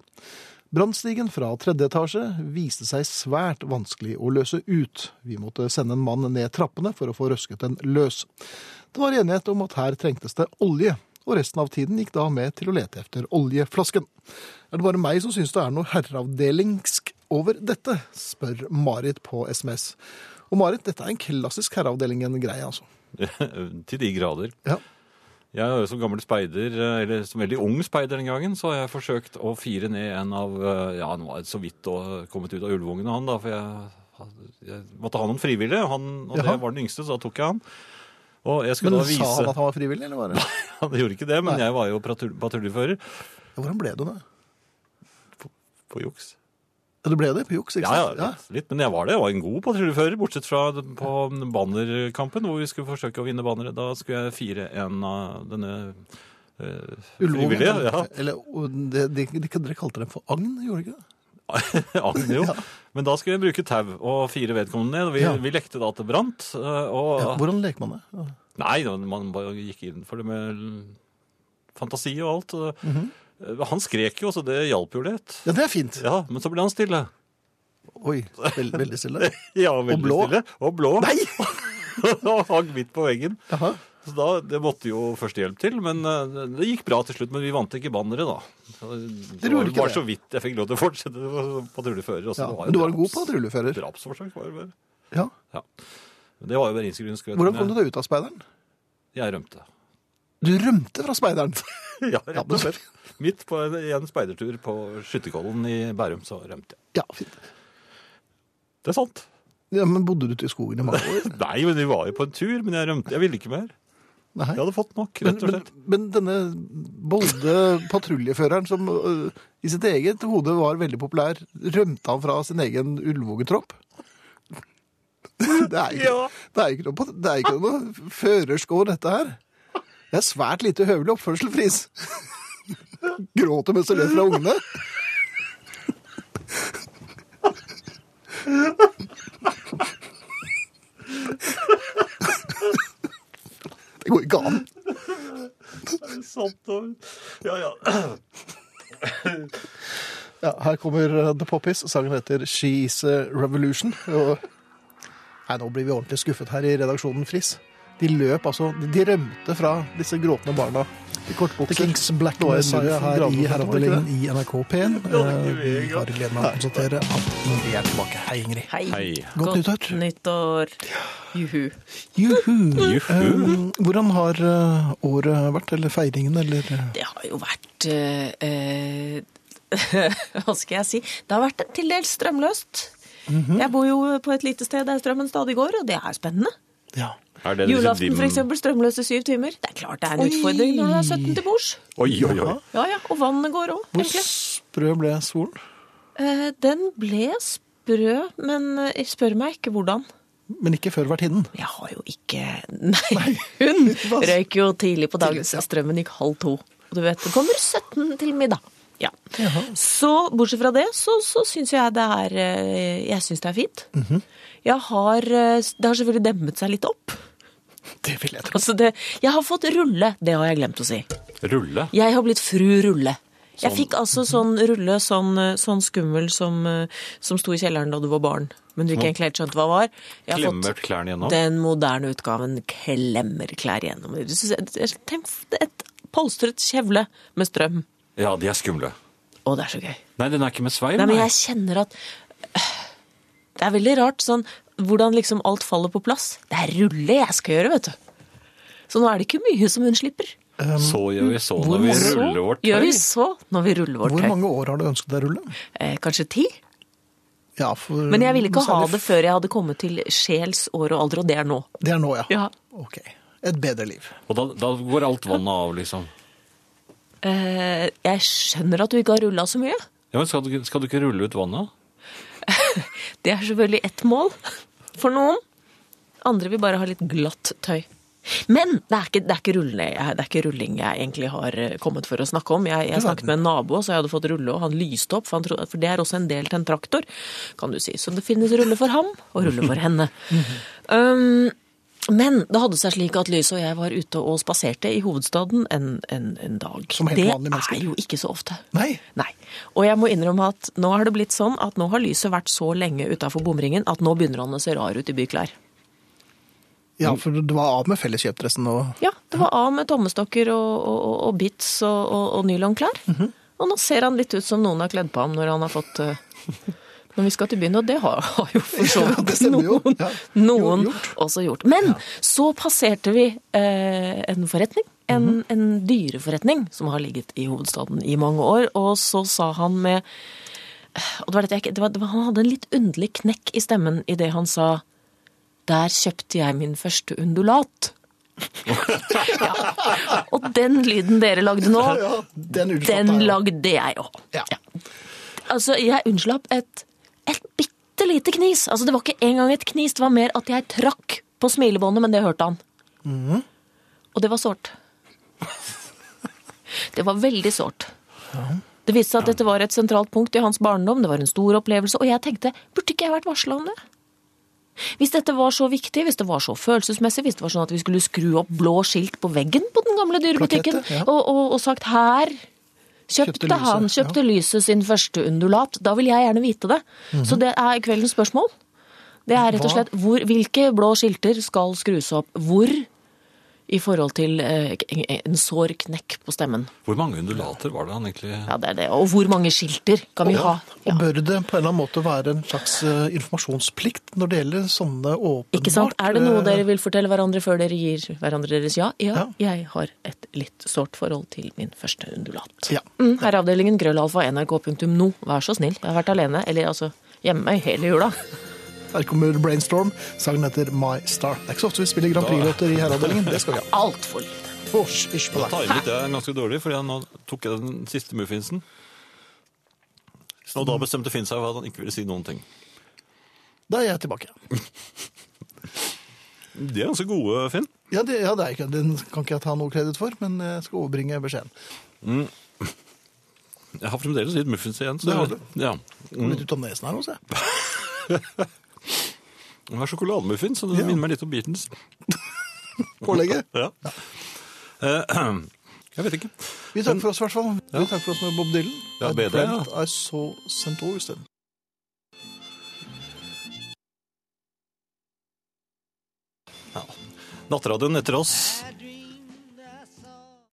[SPEAKER 1] Brannstigen fra tredje etasje viste seg svært vanskelig å løse ut. Vi måtte sende en mann ned trappene for å få røsket den løs. Det var enighet om at her trengtes det olje, og resten av tiden gikk da med til å lete efter oljeflasken. Er det bare meg som syns det er noe herreavdelingsk over dette? spør Marit på SMS. Og Marit, dette er en klassisk herreavdelingen-greie, altså.
[SPEAKER 2] *laughs* Til de grader.
[SPEAKER 1] Ja.
[SPEAKER 2] Jeg er jo som gammel speider, eh, eller som veldig ung speider den gangen, så har jeg forsøkt å fire ned en av eh, Ja, han var så vidt og kommet ut av ulvungen, han, da, for jeg, hadde- jeg måtte ha noen frivillige. og Han, og
[SPEAKER 1] Jaha.
[SPEAKER 2] det var den yngste, så da tok jeg han. Og jeg skulle
[SPEAKER 1] Men
[SPEAKER 2] da
[SPEAKER 1] sa
[SPEAKER 2] vise *laughs*
[SPEAKER 1] han at han var frivillig, eller var det?
[SPEAKER 2] Han gjorde ikke det, men
[SPEAKER 1] Nei.
[SPEAKER 2] jeg var jo patrul- patruljefører.
[SPEAKER 1] Ja, hvordan ble du det?
[SPEAKER 2] På juks.
[SPEAKER 1] Ja, du ble det på juks, ikke
[SPEAKER 2] Ja, ja,
[SPEAKER 1] sant?
[SPEAKER 2] litt, litt, men jeg var det. Jeg var en god patruljefører, bortsett fra den- på bannerkampen, hvor vi skulle forsøke å vinne bannere. Da skulle jeg fire en av denne eh,
[SPEAKER 1] Ulvungen,
[SPEAKER 2] frivillige. Ja, *laughs*
[SPEAKER 1] Eller, og de, de, de, dere kalte dem for agn, gjorde dere ikke det?
[SPEAKER 2] Agn, jo. Men da skulle jeg bruke tau og fire vedkommende ned. og Vi,
[SPEAKER 1] Ja.
[SPEAKER 2] vi lekte da at det brant. eh, Og,
[SPEAKER 1] Ja, hvordan leker man det? Ja.
[SPEAKER 2] Nei, da, man bare gikk inn for det med l- fantasi og alt. og- Eh, Han skrek jo, så det hjalp jo litt.
[SPEAKER 1] Ja, det er fint.
[SPEAKER 2] Ja, Men så ble han stille.
[SPEAKER 1] Oi, veld, veldig stille.
[SPEAKER 2] *laughs* Ja, veldig
[SPEAKER 1] blå.
[SPEAKER 2] Stille. Og blå.
[SPEAKER 1] Nei!
[SPEAKER 2] *laughs* og hang midt på veggen.
[SPEAKER 1] Jaha.
[SPEAKER 2] Så da, Det måtte jo førstehjelp til, men eh, det gikk bra til slutt. Men vi vant ikke banneret, da. Så Det
[SPEAKER 1] gjorde
[SPEAKER 2] var,
[SPEAKER 1] ikke
[SPEAKER 2] var
[SPEAKER 1] det.
[SPEAKER 2] så vidt jeg fikk lov til å fortsette som patruljefører. og så
[SPEAKER 1] Ja,
[SPEAKER 2] det
[SPEAKER 1] men du var en god
[SPEAKER 2] draps-
[SPEAKER 1] patruljefører.
[SPEAKER 2] Drapsforsøk var det bare.
[SPEAKER 1] Ja.
[SPEAKER 2] Ja. Men Det var jo berlinsgrunn, skulle
[SPEAKER 1] Hvordan kom du deg ut av speideren?
[SPEAKER 2] Jeg rømte.
[SPEAKER 1] Du rømte fra speideren.
[SPEAKER 2] Ja, rett
[SPEAKER 1] *laughs* Ja,
[SPEAKER 2] og
[SPEAKER 1] men-
[SPEAKER 2] slett. *laughs* Midt på en, i en speidertur på Skytterkollen i Bærum, så rømte jeg.
[SPEAKER 1] Ja, fint.
[SPEAKER 2] Det er sant.
[SPEAKER 1] Ja, men bodde du ute i skogen i mange år?
[SPEAKER 2] Nei, men vi var jo på en tur, men jeg rømte. Jeg ville ikke mer.
[SPEAKER 1] Nei.
[SPEAKER 2] Jeg hadde fått nok,
[SPEAKER 1] Men,
[SPEAKER 2] rett og
[SPEAKER 1] men,
[SPEAKER 2] slett.
[SPEAKER 1] men denne bolde patruljeføreren som øh, i sitt eget hode var veldig populær, rømte han fra sin egen ulvungetropp? Det er ikke,
[SPEAKER 2] Ja.
[SPEAKER 1] det er ikke, noe, pat- det er ikke noe førerskår, dette her. Det er svært lite høvelig oppførsel, Friis. Gråter mens du løper fra ungene.
[SPEAKER 2] Ja, ja.
[SPEAKER 1] Ja, her kommer eh, The Poppies. Sangen heter She Is a Revolution. Og... Nei, nå blir vi ordentlig skuffet her i redaksjonen Friis. De løp altså De, de rømte fra disse gråtende barna.
[SPEAKER 5] I kortbukser.
[SPEAKER 1] The Kings Black Messiah
[SPEAKER 3] her i herreavdelingen
[SPEAKER 1] i uh,
[SPEAKER 3] i NRK P1. Eh, Vi har gleden av å konstatere at vi er tilbake. Hei, Ingrid.
[SPEAKER 10] Hei.
[SPEAKER 2] Hei.
[SPEAKER 3] Godt
[SPEAKER 10] Godt nyttår. Juhu.
[SPEAKER 3] Juhu!
[SPEAKER 2] Juhu.
[SPEAKER 1] Um,
[SPEAKER 3] Eh, Hvordan har
[SPEAKER 1] uh,
[SPEAKER 3] eh, året vært? Eller feiringen, eller eh,
[SPEAKER 10] Det har jo vært eh, eh, *laughs* Hva skal jeg si? Det har vært til dels strømløst.
[SPEAKER 1] Mhm.
[SPEAKER 10] Jeg bor jo på et lite sted der strømmen stadig går, og det er spennende.
[SPEAKER 3] Ja.
[SPEAKER 2] Er liksom det disse
[SPEAKER 10] Julaften
[SPEAKER 2] dim-
[SPEAKER 10] for eksempel, strømløs i syv timer. Det er klart det er en utfordring når det er 17 til bords.
[SPEAKER 2] Oi, oi, oi.
[SPEAKER 10] Ja, ja, Og vannet går òg,
[SPEAKER 3] Hvor
[SPEAKER 10] egentlig.
[SPEAKER 3] sprø ble solen?
[SPEAKER 10] Eh, Den ble sprø, men eh, spør meg ikke hvordan.
[SPEAKER 3] Men ikke før vertinnen.
[SPEAKER 10] Jeg har jo ikke *laughs* Nei, hun
[SPEAKER 3] *laughs* Hva-
[SPEAKER 10] røyk jo tidlig på dagen, så strømmen gikk halv to. Og du vet, det kommer 17 til middag. Ja. Så bortsett fra det, så, så syns jeg det er eh, Jeg syns det er fint.
[SPEAKER 3] Mhm.
[SPEAKER 10] Jeg har eh, Det har selvfølgelig dempet seg litt opp.
[SPEAKER 3] Det vil jeg tro.
[SPEAKER 10] Altså det Jeg har fått rulle, det har jeg glemt å si.
[SPEAKER 2] Rulle.
[SPEAKER 10] Jeg har blitt fru Rulle. Jeg fikk altså
[SPEAKER 2] Mhm.
[SPEAKER 10] sånn rulle, sånn, eh, sånn skummel som, eh, som sto i kjelleren da du var barn, men du ikke egentlig helt skjønte hva var. Jeg har fått
[SPEAKER 2] Sånn. Klemmer klærne gjennom.
[SPEAKER 10] den moderne utgaven klemmer klær gjennom. Det synes jeg- det- Tenk et polstret kjevle med strøm.
[SPEAKER 2] Ja, de er skumle.
[SPEAKER 10] Å, det er så gøy.
[SPEAKER 2] Nei, den er ikke med sveiv.
[SPEAKER 10] Nei, men
[SPEAKER 2] nei.
[SPEAKER 10] jeg kjenner at *sighs* Det er veldig rart sånn hvordan liksom alt faller på plass. Det er rulle jeg skal gjøre, vet du. Så nå er det ikke mye som hun slipper.
[SPEAKER 2] Så gjør vi så når vi ruller vårt
[SPEAKER 10] Gjør vi
[SPEAKER 2] tøy.
[SPEAKER 10] så når vi ruller vårt
[SPEAKER 3] Hvor
[SPEAKER 10] tøy.
[SPEAKER 3] mange år har du ønsket deg rulle?
[SPEAKER 10] Eh, kanskje ti?
[SPEAKER 3] Ja, for,
[SPEAKER 10] Men jeg ville ikke ha
[SPEAKER 3] særlig-
[SPEAKER 10] det før jeg hadde kommet til sjels år og alder, og det er nå.
[SPEAKER 3] Det er nå, ja.
[SPEAKER 10] Ja.
[SPEAKER 3] Ok. Et bedre liv.
[SPEAKER 2] Og da, da går alt vannet av, liksom.
[SPEAKER 10] Eh, jeg skjønner at du ikke har rulla så mye.
[SPEAKER 2] Ja, men skal du, skal du ikke rulle ut vannet?
[SPEAKER 10] Det er selvfølgelig ett mål for noen. Andre vil bare ha litt glatt tøy. Men det er ikke, det er ikke, rulle, jeg, det er ikke rulling jeg egentlig har eh, kommet for å snakke om. Jeg, jeg snakket med en nabo, så jeg hadde fått rulle, og han lyste opp. For, han trodde, for det er også en del til en traktor, kan du si. Så det finnes rulle for ham og rulle for
[SPEAKER 3] *laughs*
[SPEAKER 10] henne. Um, men det hadde seg slik at Lyse og jeg var ute og spaserte i hovedstaden en, en, en dag.
[SPEAKER 3] Som helt
[SPEAKER 10] det
[SPEAKER 3] vanlige mennesker.
[SPEAKER 10] er jo ikke så ofte.
[SPEAKER 3] Nei.
[SPEAKER 10] Nei. Og jeg må innrømme at nå har det blitt sånn at nå har lyset vært så lenge utafor bomringen at nå begynner han å se rar ut i byklær.
[SPEAKER 3] Ja,
[SPEAKER 2] Mm.
[SPEAKER 3] for du var av med felleskjøpdressen og
[SPEAKER 10] Ja, det var av med tommestokker og, og, og, og bits og, og, og nylonklær.
[SPEAKER 3] Mhm.
[SPEAKER 10] Og nå ser han litt ut som noen har kledd på ham når han har fått eh,
[SPEAKER 3] *laughs*
[SPEAKER 10] Når vi skal til byen, og det har, har jo for så
[SPEAKER 3] Ja, det
[SPEAKER 10] vidt
[SPEAKER 3] stemmer jo.
[SPEAKER 10] noen,
[SPEAKER 3] Ja.
[SPEAKER 10] noen
[SPEAKER 3] Jo, gjort.
[SPEAKER 10] også gjort. Men så passerte vi eh, en forretning.
[SPEAKER 3] Mhm.
[SPEAKER 10] En, en dyreforretning som har ligget i hovedstaden i mange år. Og så sa han med og det var dette jeg ikke, det var, det var, Han hadde en litt underlig knekk i stemmen idet han sa Der kjøpte jeg min første undulat. ja. Og den lyden dere lagde nå,
[SPEAKER 3] Ja, den utslapp
[SPEAKER 10] den
[SPEAKER 3] der, ja.
[SPEAKER 10] lagde jeg òg.
[SPEAKER 3] Ja.
[SPEAKER 10] Altså, jeg unnslapp et, et bitte lite knis. Altså, det var ikke engang et knis, det var mer at jeg trakk på smilebåndet, men det hørte han. Og det var sårt. Det var veldig sårt. Det viste seg at dette var et sentralt punkt i hans barndom, det var en stor opplevelse, og jeg tenkte, burde ikke jeg vært varsla om det? Hvis dette var så viktig, hvis det var så følelsesmessig, hvis det var sånn at vi skulle skru opp blå skilt på veggen på den gamle dyrebutikken,
[SPEAKER 3] Plakette, ja.
[SPEAKER 10] og, og, og sagt her kjøpte,
[SPEAKER 3] Kjøpte lyset,
[SPEAKER 10] han, kjøpte lyset sin første undulat, da vil jeg gjerne vite det. Så
[SPEAKER 3] Mhm.
[SPEAKER 10] det er kveldens spørsmål. Det er rett og slett hvor, hvilke blå skilter skal skrus opp hvor i forhold til eh, en sår knekk på stemmen.
[SPEAKER 2] Hvor mange undulater var det han egentlig
[SPEAKER 10] Ja, det er det. Og hvor mange skilter kan vi ha? Ja.
[SPEAKER 3] Og bør det på en eller annen måte være en slags eh, informasjonsplikt når det gjelder sånne åpenbart
[SPEAKER 10] Ikke sant? Er det noe
[SPEAKER 3] eh,
[SPEAKER 10] dere vil fortelle hverandre før dere gir hverandre deres ja? Ja,
[SPEAKER 3] Ja.
[SPEAKER 10] jeg har et litt sårt forhold til min første undulat.
[SPEAKER 3] Ja.
[SPEAKER 10] Mm, herreavdelingen grøllalfa nrk.no, vær så snill. Jeg har vært alene, eller altså hjemme i hele jula.
[SPEAKER 3] Her kommer Brainstorm. Sangen heter My Star. Det er ikke så ofte vi spiller Grand Prix-låter i herreavdelingen. Det skal vi ha.
[SPEAKER 10] Altfor lite.
[SPEAKER 3] Hysj, hysj på deg.
[SPEAKER 2] Timet er ganske dårlig, for nå tok jeg den siste muffinsen. Og da bestemte Finn seg for at han ikke ville si noen ting.
[SPEAKER 3] Da er jeg tilbake.
[SPEAKER 2] De er ganske gode, Finn.
[SPEAKER 3] Ja, det, ja, det er ikke, den kan ikke jeg ta noe kreditt for, men jeg skal overbringe beskjeden.
[SPEAKER 2] Jeg har fremdeles litt muffins igjen. Så
[SPEAKER 3] Det har du.
[SPEAKER 2] Ja.
[SPEAKER 3] Mm. Litt ut om nesen her også, jeg.
[SPEAKER 2] Jeg har sjokolademuffins, så det
[SPEAKER 3] Ja.
[SPEAKER 2] minner meg litt om Beatles.
[SPEAKER 3] Pålegget.
[SPEAKER 2] Ja. Eh, *clears throat* Jeg vet ikke.
[SPEAKER 1] Vi takker for oss, i hvert fall. Vi takker for oss med Bob Dylan.
[SPEAKER 2] Ja,
[SPEAKER 1] I
[SPEAKER 2] bedre,
[SPEAKER 1] dreamt I saw St. Augustine.
[SPEAKER 2] Nattradioen etter oss.